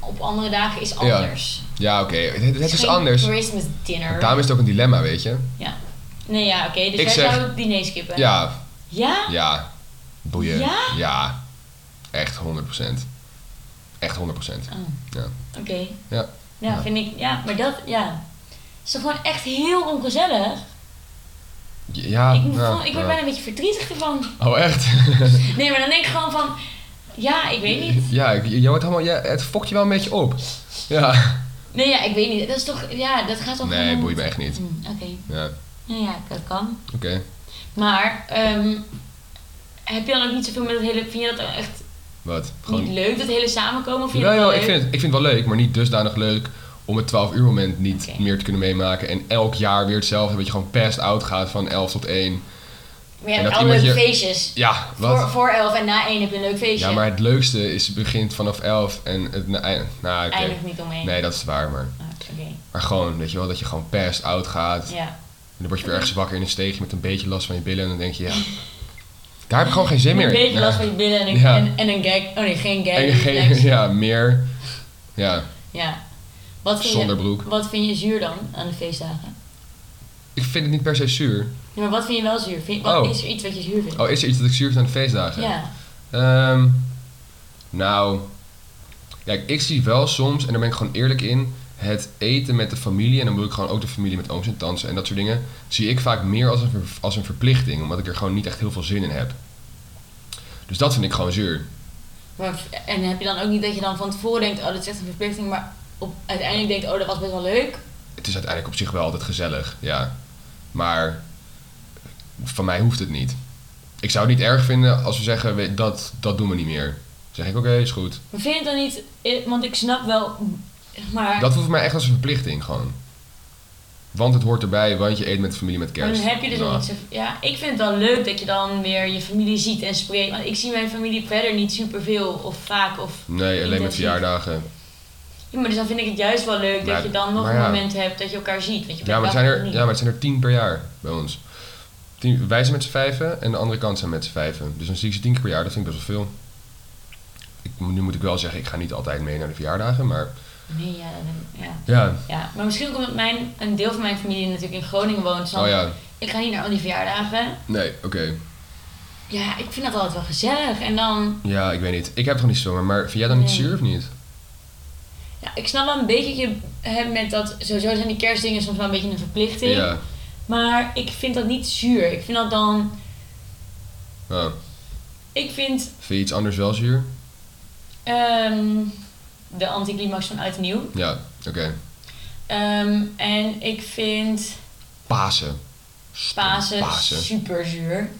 Speaker 2: op andere dagen is anders.
Speaker 3: Ja, oké. Het, het is
Speaker 2: geen
Speaker 3: anders.
Speaker 2: Christmas dinner.
Speaker 3: Daarom is het ook een dilemma, weet je?
Speaker 2: Nee, ja, oké. dus
Speaker 3: Ik
Speaker 2: jij
Speaker 3: zeg-
Speaker 2: zou het diner skippen?
Speaker 3: Ja,
Speaker 2: Ja?
Speaker 3: ja. Boeien.
Speaker 2: Ja?
Speaker 3: Ja. Echt 100%. Echt 100%.
Speaker 2: Oh,
Speaker 3: Ja.
Speaker 2: Oké.
Speaker 3: Ja.
Speaker 2: Ja,
Speaker 3: Ja.
Speaker 2: vind ik... Ja, maar dat... Ja. Is toch gewoon echt heel ongezellig?
Speaker 3: Ja,
Speaker 2: ik, moet
Speaker 3: ja,
Speaker 2: gewoon- ik word
Speaker 3: ja.
Speaker 2: bijna een beetje verdrietig ervan.
Speaker 3: Oh, echt?
Speaker 2: Nee, maar dan denk ik gewoon van... Ja, ik weet niet.
Speaker 3: (laughs) Ja, ik- je wordt helemaal, ja, het fokt je wel een beetje op. Ja.
Speaker 2: Nee, ja, ik weet niet. Dat is toch... Ja, dat gaat toch
Speaker 3: Nee,
Speaker 2: gewoon-
Speaker 3: boeit me echt niet.
Speaker 2: Hm, Oké.
Speaker 3: Ja,
Speaker 2: Nou ja, dat kan.
Speaker 3: oké.
Speaker 2: Maar... ehm, heb je dan ook niet zoveel met het hele... Vind je dat echt
Speaker 3: Wat?
Speaker 2: niet leuk, dat hele samenkomen? Of vind je
Speaker 3: Jawel, jawel,
Speaker 2: dat wel leuk?
Speaker 3: ik, vind het, ik vind het wel leuk, maar niet dusdanig leuk om het 12 uur moment niet
Speaker 2: Oké.
Speaker 3: meer te kunnen meemaken. En elk jaar weer hetzelfde, dat je gewoon past out gaat van 11 tot 1.
Speaker 2: Maar je
Speaker 3: En
Speaker 2: hebt
Speaker 3: dat
Speaker 2: alle
Speaker 3: iemand
Speaker 2: leuke
Speaker 3: je-
Speaker 2: feestjes.
Speaker 3: Ja, wat?
Speaker 2: Voor, voor elf en na één heb je een leuk feestje.
Speaker 3: ja, maar het leukste is, het begint vanaf 11 en het na- eind- nou, oké.
Speaker 2: Eindigt niet omheen.
Speaker 3: Nee, dat is waar, maar,
Speaker 2: Ah, Oké,
Speaker 3: maar gewoon, weet je wel, dat je gewoon past out gaat.
Speaker 2: ja.
Speaker 3: En dan word je weer ergens wakker in een steegje met een beetje last van je billen. En dan denk je, ja, daar heb ik gewoon geen zin
Speaker 2: Een
Speaker 3: meer in.
Speaker 2: beetje
Speaker 3: Ja.
Speaker 2: last van je billen en een,
Speaker 3: Ja.
Speaker 2: en, en een gag. Oh nee, geen gag.
Speaker 3: En
Speaker 2: relax.
Speaker 3: geen, (laughs) ja, meer. Ja,
Speaker 2: Ja. Wat vind,
Speaker 3: zonder
Speaker 2: je,
Speaker 3: broek.
Speaker 2: wat vind je zuur dan aan de feestdagen?
Speaker 3: Ik vind het niet per se zuur.
Speaker 2: Ja, maar wat vind je wel zuur? Vind, wat
Speaker 3: Oh.
Speaker 2: is er iets wat je zuur vindt?
Speaker 3: Oh, is er iets dat ik zuur vind aan de feestdagen?
Speaker 2: ja.
Speaker 3: Ehm, nou, kijk, ik zie wel soms, en daar ben ik gewoon eerlijk in, het eten met de familie, en dan bedoel ik gewoon ook de familie met ooms en tantes en dat soort dingen, zie ik vaak meer als een, ver- als een verplichting, omdat ik er gewoon niet echt heel veel zin in heb. Dus dat vind ik gewoon zuur.
Speaker 2: Maar, en heb je dan ook niet dat je dan van tevoren denkt, oh dat is echt een verplichting, maar op, uiteindelijk denkt, oh dat was best wel leuk.
Speaker 3: Het is uiteindelijk op zich wel altijd gezellig, ja. Maar van mij hoeft het niet. Ik zou het niet erg vinden als we zeggen, we- dat, dat doen we niet meer. Dan zeg ik, oké, is goed.
Speaker 2: Maar vind je het dan niet, eh, want ik snap wel, maar...
Speaker 3: Dat voelt voor mij echt als een verplichting gewoon. Want het hoort erbij, want je eet met familie met
Speaker 2: Maar
Speaker 3: kerst.
Speaker 2: dan heb je dus
Speaker 3: Nou,
Speaker 2: ook niet zo... Ja, ik vind het wel leuk dat je dan weer je familie ziet en spreekt. Want ik zie mijn familie verder niet superveel of vaak. Of,
Speaker 3: Nee, alleen met
Speaker 2: intensief.
Speaker 3: verjaardagen.
Speaker 2: Ja, maar dus dan vind ik het juist wel leuk
Speaker 3: Maar-
Speaker 2: dat je dan nog
Speaker 3: maar
Speaker 2: een
Speaker 3: ja.
Speaker 2: moment hebt dat je elkaar ziet. Want je
Speaker 3: Ja maar, het
Speaker 2: bent
Speaker 3: zijn
Speaker 2: wel
Speaker 3: er,
Speaker 2: niet.
Speaker 3: ja, maar het zijn er tien per jaar bij ons. Tien, wij zijn met z'n vijven en de andere kant zijn met z'n vijven. Dus dan zie ik ze tien keer per jaar, dat vind ik best wel veel. Ik, nu moet ik wel zeggen, ik ga niet altijd mee naar de verjaardagen, maar
Speaker 2: Nee, ja, dan- ja.
Speaker 3: ja.
Speaker 2: ja. Maar misschien ook omdat mijn, een deel van mijn familie natuurlijk in Groningen woont. Dus
Speaker 3: Oh ja,
Speaker 2: Ik ga niet naar al die verjaardagen.
Speaker 3: nee, oké.
Speaker 2: Ja, ik vind dat altijd wel gezellig. En dan...
Speaker 3: Ja, ik weet niet. Ik heb het nog niet zomaar, maar vind jij dan niet
Speaker 2: Nee.
Speaker 3: zuur of niet?
Speaker 2: Ja, ik snap wel een beetje dat je hebt met dat... Sowieso zijn die kerstdingen soms wel een beetje een verplichting.
Speaker 3: Ja.
Speaker 2: Maar ik vind dat niet zuur. Ik vind dat dan...
Speaker 3: Oh.
Speaker 2: Ik vind
Speaker 3: Vind je iets anders wel zuur?
Speaker 2: Ehm, de anticlimax van Oud en Nieuw.
Speaker 3: Ja, oké.
Speaker 2: Ehm, en ik vind
Speaker 3: Pasen.
Speaker 2: Pasen,
Speaker 3: Pasen.
Speaker 2: super zuur.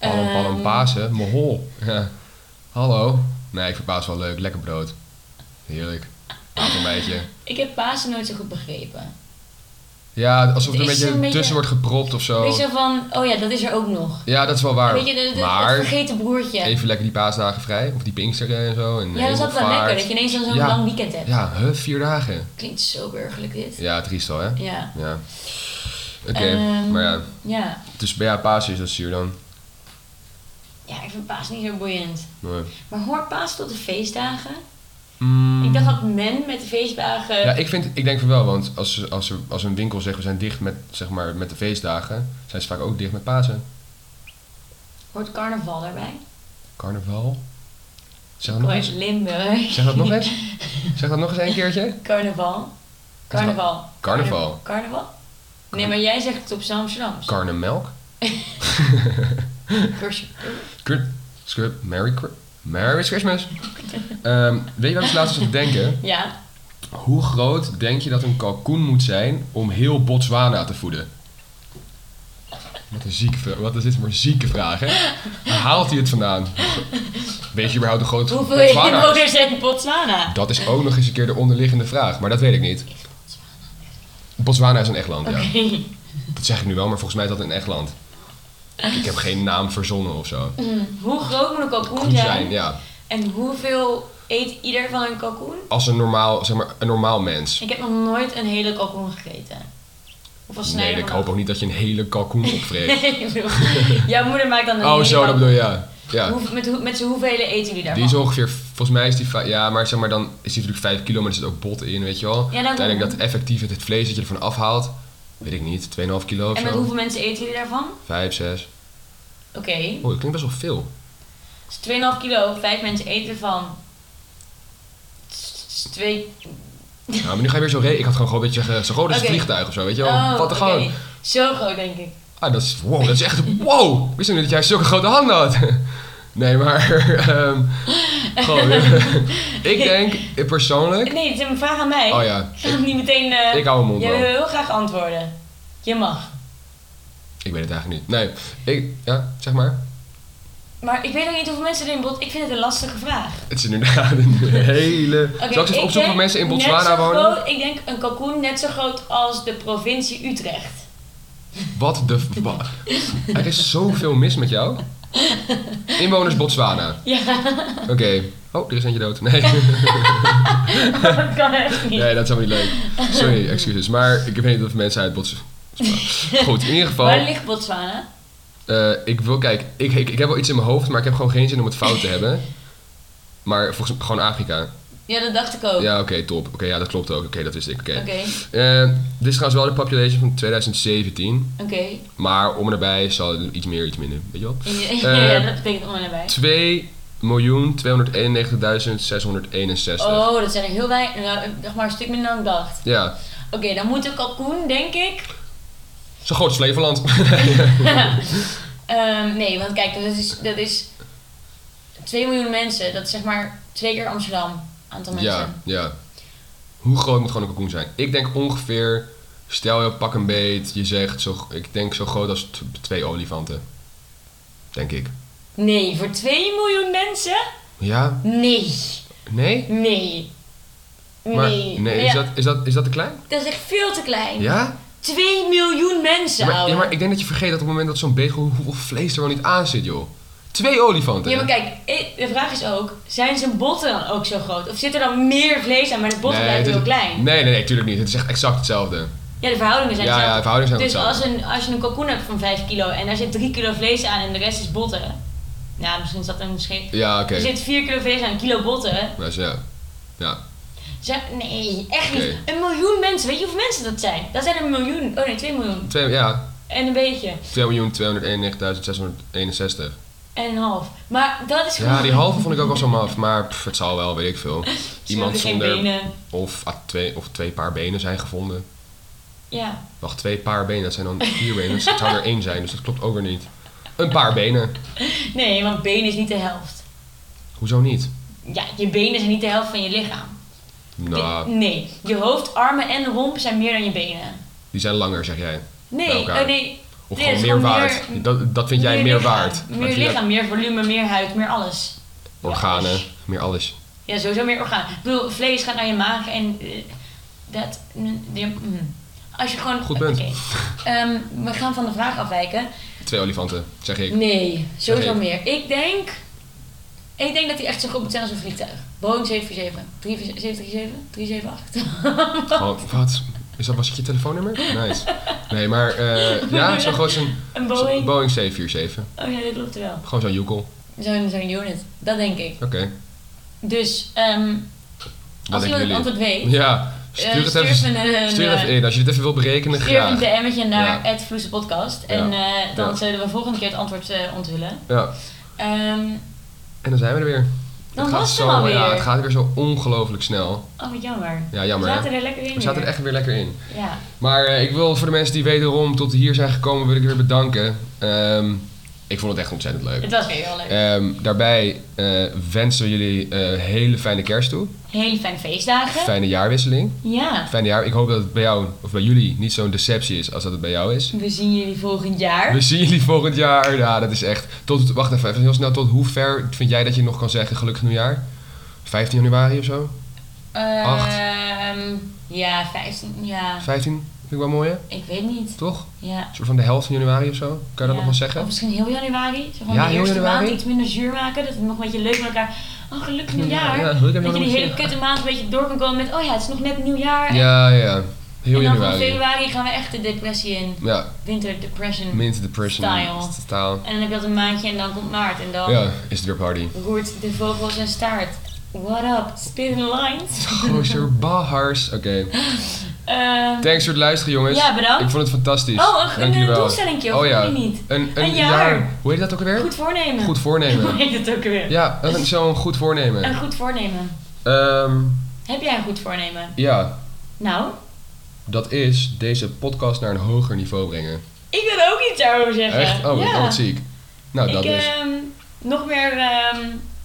Speaker 3: Hallo, hallo,
Speaker 2: Ehm,
Speaker 3: Pasen. Mohol. (laughs) Ja. Hallo. Nee, ik vind Pasen wel leuk. Lekker brood. Heerlijk. Laat een beetje.
Speaker 2: Ik heb Pasen nooit zo goed begrepen.
Speaker 3: Ja, alsof er een
Speaker 2: Het is
Speaker 3: beetje,
Speaker 2: een beetje-
Speaker 3: tussen wordt gepropt of zo.
Speaker 2: Weet je van, oh ja, dat is er ook nog.
Speaker 3: Ja, dat is wel waar.
Speaker 2: Weet je, de, de- het
Speaker 3: maar
Speaker 2: vergeten broertje.
Speaker 3: even lekker die paasdagen vrij. Of die Pinksteren en zo. En
Speaker 2: ja, dat is altijd wel
Speaker 3: hemelvaart.
Speaker 2: lekker, dat je ineens dan zo'n
Speaker 3: Ja.
Speaker 2: lang weekend hebt.
Speaker 3: Ja, huh, vier dagen.
Speaker 2: Klinkt zo burgerlijk dit.
Speaker 3: Ja, triest al, hè?
Speaker 2: Ja.
Speaker 3: Ja. Oké,
Speaker 2: Ehm,
Speaker 3: maar ja.
Speaker 2: ja.
Speaker 3: Dus bij ja, Pasen is dat zuur dan.
Speaker 2: Ja, ik vind Pasen niet zo boeiend.
Speaker 3: Nee.
Speaker 2: Maar hoort Pasen tot de feestdagen?
Speaker 3: Mm.
Speaker 2: Ik dacht dat men met de feestdagen...
Speaker 3: Ja, ik, vind, ik denk van wel, want als, als, er- als een winkel zegt we zijn dicht met, zeg maar, met de feestdagen, zijn ze vaak ook dicht met Pasen.
Speaker 2: Hoort carnaval daarbij?
Speaker 3: Carnaval? Zeg dat nog eens.
Speaker 2: Limburg.
Speaker 3: Zeg dat nog eens. Zeg dat nog eens een keertje.
Speaker 2: (laughs) Carnaval. Carnaval.
Speaker 3: Carnaval.
Speaker 2: Carnaval? Nee, maar jij zegt het op zijn Amsterdams.
Speaker 3: Karnemelk.
Speaker 2: Cursus.
Speaker 3: (laughs) Kurt. Scrub. Merry, Cri- Merry Christmas. Ehm, weet je wat ik laatst zat te denken?
Speaker 2: Ja.
Speaker 3: Hoe groot denk je dat een kalkoen moet zijn om heel Botswana te voeden? Wat een zieke vraag. Wat is dit voor zieke vraag, hè? Waar haalt hij het vandaan? Weet je überhaupt hoe groot
Speaker 2: Hoeveel je
Speaker 3: Botswana is?
Speaker 2: inwoners heeft Botswana? (laughs)
Speaker 3: Dat is ook nog eens een keer de onderliggende vraag, maar dat weet ik niet. Botswana is een echt land,
Speaker 2: Oké.
Speaker 3: ja. Dat zeg ik nu wel, maar volgens mij is dat een echt land. Ik heb geen naam verzonnen of zo.
Speaker 2: Hoe groot moet een kalkoen
Speaker 3: Goed
Speaker 2: zijn?
Speaker 3: zijn, ja.
Speaker 2: En hoeveel eet ieder van een kalkoen?
Speaker 3: Als een normaal, zeg maar, een normaal mens.
Speaker 2: Ik heb nog nooit een hele kalkoen gegeten. Of een
Speaker 3: Nee,
Speaker 2: snijder.
Speaker 3: ik
Speaker 2: van
Speaker 3: hoop ook niet dat je een hele kalkoen
Speaker 2: een-
Speaker 3: opvreet.
Speaker 2: (laughs) Nee, ik bedoel, Jouw moeder maakt dan een
Speaker 3: Oh,
Speaker 2: hele
Speaker 3: zo, dat
Speaker 2: kalkoen.
Speaker 3: bedoel je, ja. ja.
Speaker 2: Hoe- met, hoe- met z'n hoeveel eten jullie daarvan?
Speaker 3: Die is ongeveer, volgens mij is die, vij- ja, maar zeg maar, dan is die natuurlijk 5 kilo, maar er zit ook bot in, weet je wel.
Speaker 2: daarom.
Speaker 3: Uiteindelijk dat effectief het, het vlees dat je ervan afhaalt, weet ik niet, 2,5 kilo of
Speaker 2: en met
Speaker 3: zo.
Speaker 2: hoeveel mensen eten jullie daarvan?
Speaker 3: 5, 6.
Speaker 2: Oké.
Speaker 3: Oh, dat klinkt best wel veel.
Speaker 2: Dus 2,5 kilo, 5 mensen eten ervan. S- s- Twee...
Speaker 3: Ja, maar nu ga je weer zo re. Ik had gewoon gewoon een beetje zeggen, zo groot als een
Speaker 2: Oké.
Speaker 3: vliegtuig of zo, weet je wel.
Speaker 2: Oh,
Speaker 3: Wat er gewoon.
Speaker 2: oké. Zo groot denk ik.
Speaker 3: Ah, dat is, wow, dat is echt, wow. Ik wist niet dat jij zulke grote handen had. (laughs) Nee, maar, ehm, gewoon,
Speaker 2: (laughs)
Speaker 3: ik denk, eh, persoonlijk,
Speaker 2: Nee, het is een vraag aan mij.
Speaker 3: oh ja,
Speaker 2: Ik ga het niet meteen... eh,
Speaker 3: ik hou mijn mond
Speaker 2: Jij wil
Speaker 3: wel.
Speaker 2: heel graag antwoorden. Je mag.
Speaker 3: Ik weet het eigenlijk niet. Nee, ik, ja, zeg maar.
Speaker 2: Maar ik weet nog niet hoeveel mensen er in Bot... Ik vind het een lastige vraag.
Speaker 3: Het is inderdaad een hele...
Speaker 2: Oké,
Speaker 3: Zal ik eens opzoeken
Speaker 2: denk
Speaker 3: of mensen in
Speaker 2: net
Speaker 3: Botswana
Speaker 2: zo
Speaker 3: wonen?
Speaker 2: groot- ik denk een kalkoen net zo groot als de provincie Utrecht. (laughs)
Speaker 3: Wat de... f- wa- Er is zoveel mis met jou. Inwoners Botswana.
Speaker 2: Ja,
Speaker 3: Oké. Oh, er is eentje dood. Nee.
Speaker 2: dat kan echt niet.
Speaker 3: Nee, dat is helemaal niet leuk. Sorry, excuses. Maar ik weet niet of mensen uitbotsen. Goed, in ieder
Speaker 2: (laughs)
Speaker 3: geval.
Speaker 2: Waar ligt Botswana?
Speaker 3: eh, ik wil, kijk, ik, ik, ik heb wel iets in mijn hoofd, maar ik heb gewoon geen zin om het fout te hebben. Maar volgens mij gewoon Afrika.
Speaker 2: Ja, dat dacht ik ook.
Speaker 3: Ja, oké, top. Oké, ja, dat klopt ook. Oké, dat wist ik. Oké.
Speaker 2: Oh. Oké,
Speaker 3: Eh, dit is trouwens wel de population van 2017.
Speaker 2: oké. (laughs)
Speaker 3: Maar om en nabij zal het iets meer, iets minder. Weet je wel? Eh,
Speaker 2: Ja, dat betekent om en nabij.
Speaker 3: 2.291.661.
Speaker 2: Oh, dat zijn er heel weinig. Nou, zeg maar een stuk minder dan ik dacht.
Speaker 3: Ja,
Speaker 2: Oké, dan moet een kalkoen, denk ik.
Speaker 3: zo groot als Flevoland.
Speaker 2: Ehm, nee, want kijk, dat is, dat is 2 miljoen mensen. Dat is zeg maar twee keer Amsterdam. Aantal mensen.
Speaker 3: (laughs) Ja, ja. Hoe groot moet gewoon een kalkoen zijn? Ik denk ongeveer, stel je pak een beet, je zegt, zo, ik denk zo groot als t- twee olifanten. Denk ik.
Speaker 2: Nee, voor 2 miljoen mensen?
Speaker 3: Ja?
Speaker 2: Nee,
Speaker 3: Nee?
Speaker 2: nee.
Speaker 3: Maar,
Speaker 2: Nee.
Speaker 3: nee,
Speaker 2: Ja,
Speaker 3: is, dat, is, dat, is dat te klein?
Speaker 2: dat is echt veel te klein.
Speaker 3: Ja?
Speaker 2: 2 miljoen
Speaker 3: Ja
Speaker 2: mensen,
Speaker 3: maar,
Speaker 2: ouwe.
Speaker 3: ja, maar ik denk dat je vergeet dat op het moment dat zo'n beet, hoe- hoeveel vlees er wel niet aan zit, joh. Twee olifanten.
Speaker 2: Ja, maar kijk, ik- de vraag is ook, zijn zijn botten dan ook zo groot? Of zit er dan meer vlees aan, maar de botten blijven
Speaker 3: het
Speaker 2: heel
Speaker 3: is-
Speaker 2: klein?
Speaker 3: Nee, nee, nee, tuurlijk niet. Het is echt exact hetzelfde.
Speaker 2: Ja, de verhoudingen zijn
Speaker 3: ja, ja, de
Speaker 2: hetzelfde.
Speaker 3: verhoudingen zijn
Speaker 2: Dus
Speaker 3: hetzelfde.
Speaker 2: als, een, als je een kalkoen hebt van 5 kilo en daar zit 3 kilo vlees aan en de rest is botten. Nou, misschien is dat een misschien.
Speaker 3: Ja, oké.
Speaker 2: Er zit 4 kilo vlees aan, een kilo botten.
Speaker 3: Maar zo, ja. Ja.
Speaker 2: Zijn- nee, echt niet.
Speaker 3: Oké.
Speaker 2: Een miljoen mensen. Weet je hoeveel mensen dat zijn? Dat zijn een miljoen. Oh nee, 2 miljoen.
Speaker 3: Twee- ja,
Speaker 2: En een beetje.
Speaker 3: 2.291.661.
Speaker 2: En een half. Maar dat is
Speaker 3: Ja, die halve vond ik ook wel zo maf, maar pff, het zal wel, weet ik
Speaker 2: (laughs)
Speaker 3: veel. Iemand
Speaker 2: geen
Speaker 3: zonder.
Speaker 2: benen.
Speaker 3: Of, ah, twee, of twee paar benen zijn gevonden.
Speaker 2: Ja.
Speaker 3: Wacht, twee paar benen, dat zijn dan vier benen. Dus het zou er één zijn, dus dat klopt ook weer niet. Een paar benen.
Speaker 2: Nee, want benen is niet de helft.
Speaker 3: Hoezo niet?
Speaker 2: Ja, je benen zijn niet de helft van je lichaam.
Speaker 3: Nou,
Speaker 2: Nee, je hoofd, armen en romp zijn meer dan je benen.
Speaker 3: die zijn langer, zeg jij. Bij
Speaker 2: Nee,
Speaker 3: elkaar.
Speaker 2: oh nee,
Speaker 3: Of
Speaker 2: Nee,
Speaker 3: gewoon
Speaker 2: dat is
Speaker 3: meer
Speaker 2: gewoon
Speaker 3: waard.
Speaker 2: meer-
Speaker 3: dat, dat vind jij meer,
Speaker 2: lichaam.
Speaker 3: waard. Want
Speaker 2: Meer
Speaker 3: je hebt
Speaker 2: lichaam, meer volume, meer huid, meer alles.
Speaker 3: Organen, meer alles.
Speaker 2: Ja, sowieso meer orgaan. Ik bedoel, vlees gaat naar je maag en eh, dat. mm, die- mm. Als je gewoon.
Speaker 3: Goed punt.
Speaker 2: Oké. Ehm, we gaan van de vraag afwijken.
Speaker 3: Twee olifanten, zeg ik.
Speaker 2: Nee, sowieso
Speaker 3: Oké.
Speaker 2: meer. Ik denk. Ik denk dat die echt zo goed moet zijn als een vliegtuig. Boeing 747. 737, 378.
Speaker 3: Gewoon, Oh, wat? Is dat, was het je telefoonnummer? Nice. Nee, maar
Speaker 2: (laughs)
Speaker 3: eh, ja, zo groot is een
Speaker 2: (laughs)
Speaker 3: zo'n
Speaker 2: een Boeing.
Speaker 3: Boeing 747.
Speaker 2: Oh ja, dat klopt wel.
Speaker 3: Gewoon zo'n joekel.
Speaker 2: Zo'n zo'n unit. Dat denk ik.
Speaker 3: Oké,
Speaker 2: Dus, ehm
Speaker 3: wat
Speaker 2: als
Speaker 3: denken
Speaker 2: iemand het
Speaker 3: jullie?
Speaker 2: antwoord weet.
Speaker 3: Ja,
Speaker 2: Eh,
Speaker 3: stuur het even,
Speaker 2: een, een,
Speaker 3: stuur
Speaker 2: eh,
Speaker 3: even in. Als je dit even wilt berekenen,
Speaker 2: stuur
Speaker 3: graag.
Speaker 2: een DM'tje naar het Vloese Podcast. En eh, dan
Speaker 3: Ja.
Speaker 2: zullen we volgende keer het antwoord eh, onthullen.
Speaker 3: Ja,
Speaker 2: Ehm,
Speaker 3: en dan zijn we er weer.
Speaker 2: Dan
Speaker 3: gaat
Speaker 2: was het
Speaker 3: zo,
Speaker 2: er alweer.
Speaker 3: ja, het gaat weer zo ongelooflijk snel.
Speaker 2: Oh, wat jammer.
Speaker 3: Ja, jammer.
Speaker 2: We
Speaker 3: hè?
Speaker 2: zaten er lekker in
Speaker 3: We zaten er
Speaker 2: weer.
Speaker 3: echt weer lekker in.
Speaker 2: Ja.
Speaker 3: Maar eh, ik wil voor de mensen die wederom tot hier zijn gekomen, wil ik weer bedanken. Ehm, ik vond het echt ontzettend leuk.
Speaker 2: Het was weer heel leuk.
Speaker 3: Ehm, daarbij eh, wensen we jullie eh, hele fijne kerst toe.
Speaker 2: Hele fijne feestdagen.
Speaker 3: Fijne jaarwisseling.
Speaker 2: Ja.
Speaker 3: Fijne jaar. Ik hoop dat het bij jou, of bij jullie, niet zo'n deceptie is als dat het bij jou is.
Speaker 2: We zien jullie volgend jaar.
Speaker 3: We zien jullie volgend jaar. Ja, dat is echt. Tot, wacht even, even heel snel. Tot hoe ver vind jij dat je nog kan zeggen gelukkig nieuwjaar? 15 januari of zo? Acht.
Speaker 2: Ehm, ja, 15. Ja,
Speaker 3: 15? Vind ik wel mooi, hè?
Speaker 2: ik weet niet.
Speaker 3: toch? Een
Speaker 2: Ja.
Speaker 3: soort van de helft van januari of zo? Kan je dat
Speaker 2: Ja.
Speaker 3: nog wel
Speaker 2: Of
Speaker 3: zeggen?
Speaker 2: misschien heel januari. Zo gewoon
Speaker 3: Ja,
Speaker 2: de
Speaker 3: heel
Speaker 2: eerste
Speaker 3: januari.
Speaker 2: maand iets minder zuur maken. Dat we nog een beetje leuk met elkaar... Oh, gelukkig nieuwjaar.
Speaker 3: Ja, gelukkig
Speaker 2: dat je die hele
Speaker 3: nieuwjaar.
Speaker 2: kutte maand een beetje door kan komen met... Oh ja, het is nog net nieuwjaar.
Speaker 3: Ja, ja. Heel
Speaker 2: en dan vanaf
Speaker 3: januari.
Speaker 2: februari gaan we echt de depressie in.
Speaker 3: Ja,
Speaker 2: Winter depression.
Speaker 3: mint depression.
Speaker 2: Style.
Speaker 3: Style.
Speaker 2: en dan heb je dat een maandje en dan komt maart. En dan
Speaker 3: Ja, is het weer party.
Speaker 2: roert de vogel zijn staart. What up? Spit in lines.
Speaker 3: Gozer, bahars. Oké.
Speaker 2: Ehm,
Speaker 3: Thanks voor het luisteren, jongens.
Speaker 2: ja,
Speaker 3: Ik
Speaker 2: bedankt.
Speaker 3: vond het fantastisch.
Speaker 2: Oh, een,
Speaker 3: Dank
Speaker 2: een
Speaker 3: jullie wel.
Speaker 2: doelstelling, joh.
Speaker 3: Oh ja.
Speaker 2: niet.
Speaker 3: Een, een,
Speaker 2: Een
Speaker 3: jaar.
Speaker 2: jaar.
Speaker 3: Hoe heet dat ook alweer?
Speaker 2: Goed voornemen.
Speaker 3: Goed voornemen.
Speaker 2: (laughs) Hoe heet het ook weer?
Speaker 3: Ja, dat is zo'n goed voornemen.
Speaker 2: Een goed voornemen.
Speaker 3: Ehm,
Speaker 2: Heb jij een goed voornemen?
Speaker 3: ja,
Speaker 2: Nou,
Speaker 3: dat is deze podcast naar een hoger niveau brengen.
Speaker 2: ik wil er ook iets over zeggen.
Speaker 3: Echt? Oh,
Speaker 2: ja.
Speaker 3: oh, wat ziek. Nou, dat
Speaker 2: ik,
Speaker 3: dus.
Speaker 2: ehm, nog meer ehm,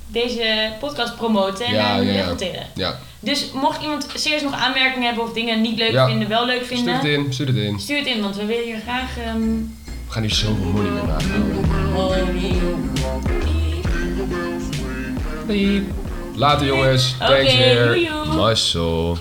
Speaker 2: deze podcast promoten en
Speaker 3: Ja,
Speaker 2: daar
Speaker 3: ja, ja.
Speaker 2: recruteren.
Speaker 3: Ja.
Speaker 2: Dus mocht iemand serieus nog aanmerkingen hebben of dingen niet leuk
Speaker 3: Ja.
Speaker 2: vinden, wel leuk vinden,
Speaker 3: Stuur het in, stuur het in.
Speaker 2: stuur het in, want we willen hier graag. ehm,
Speaker 3: We gaan hier zoveel money mee maken. Later jongens,
Speaker 2: Oké,
Speaker 3: thanks weer.
Speaker 2: doei, joe.
Speaker 3: Marcel.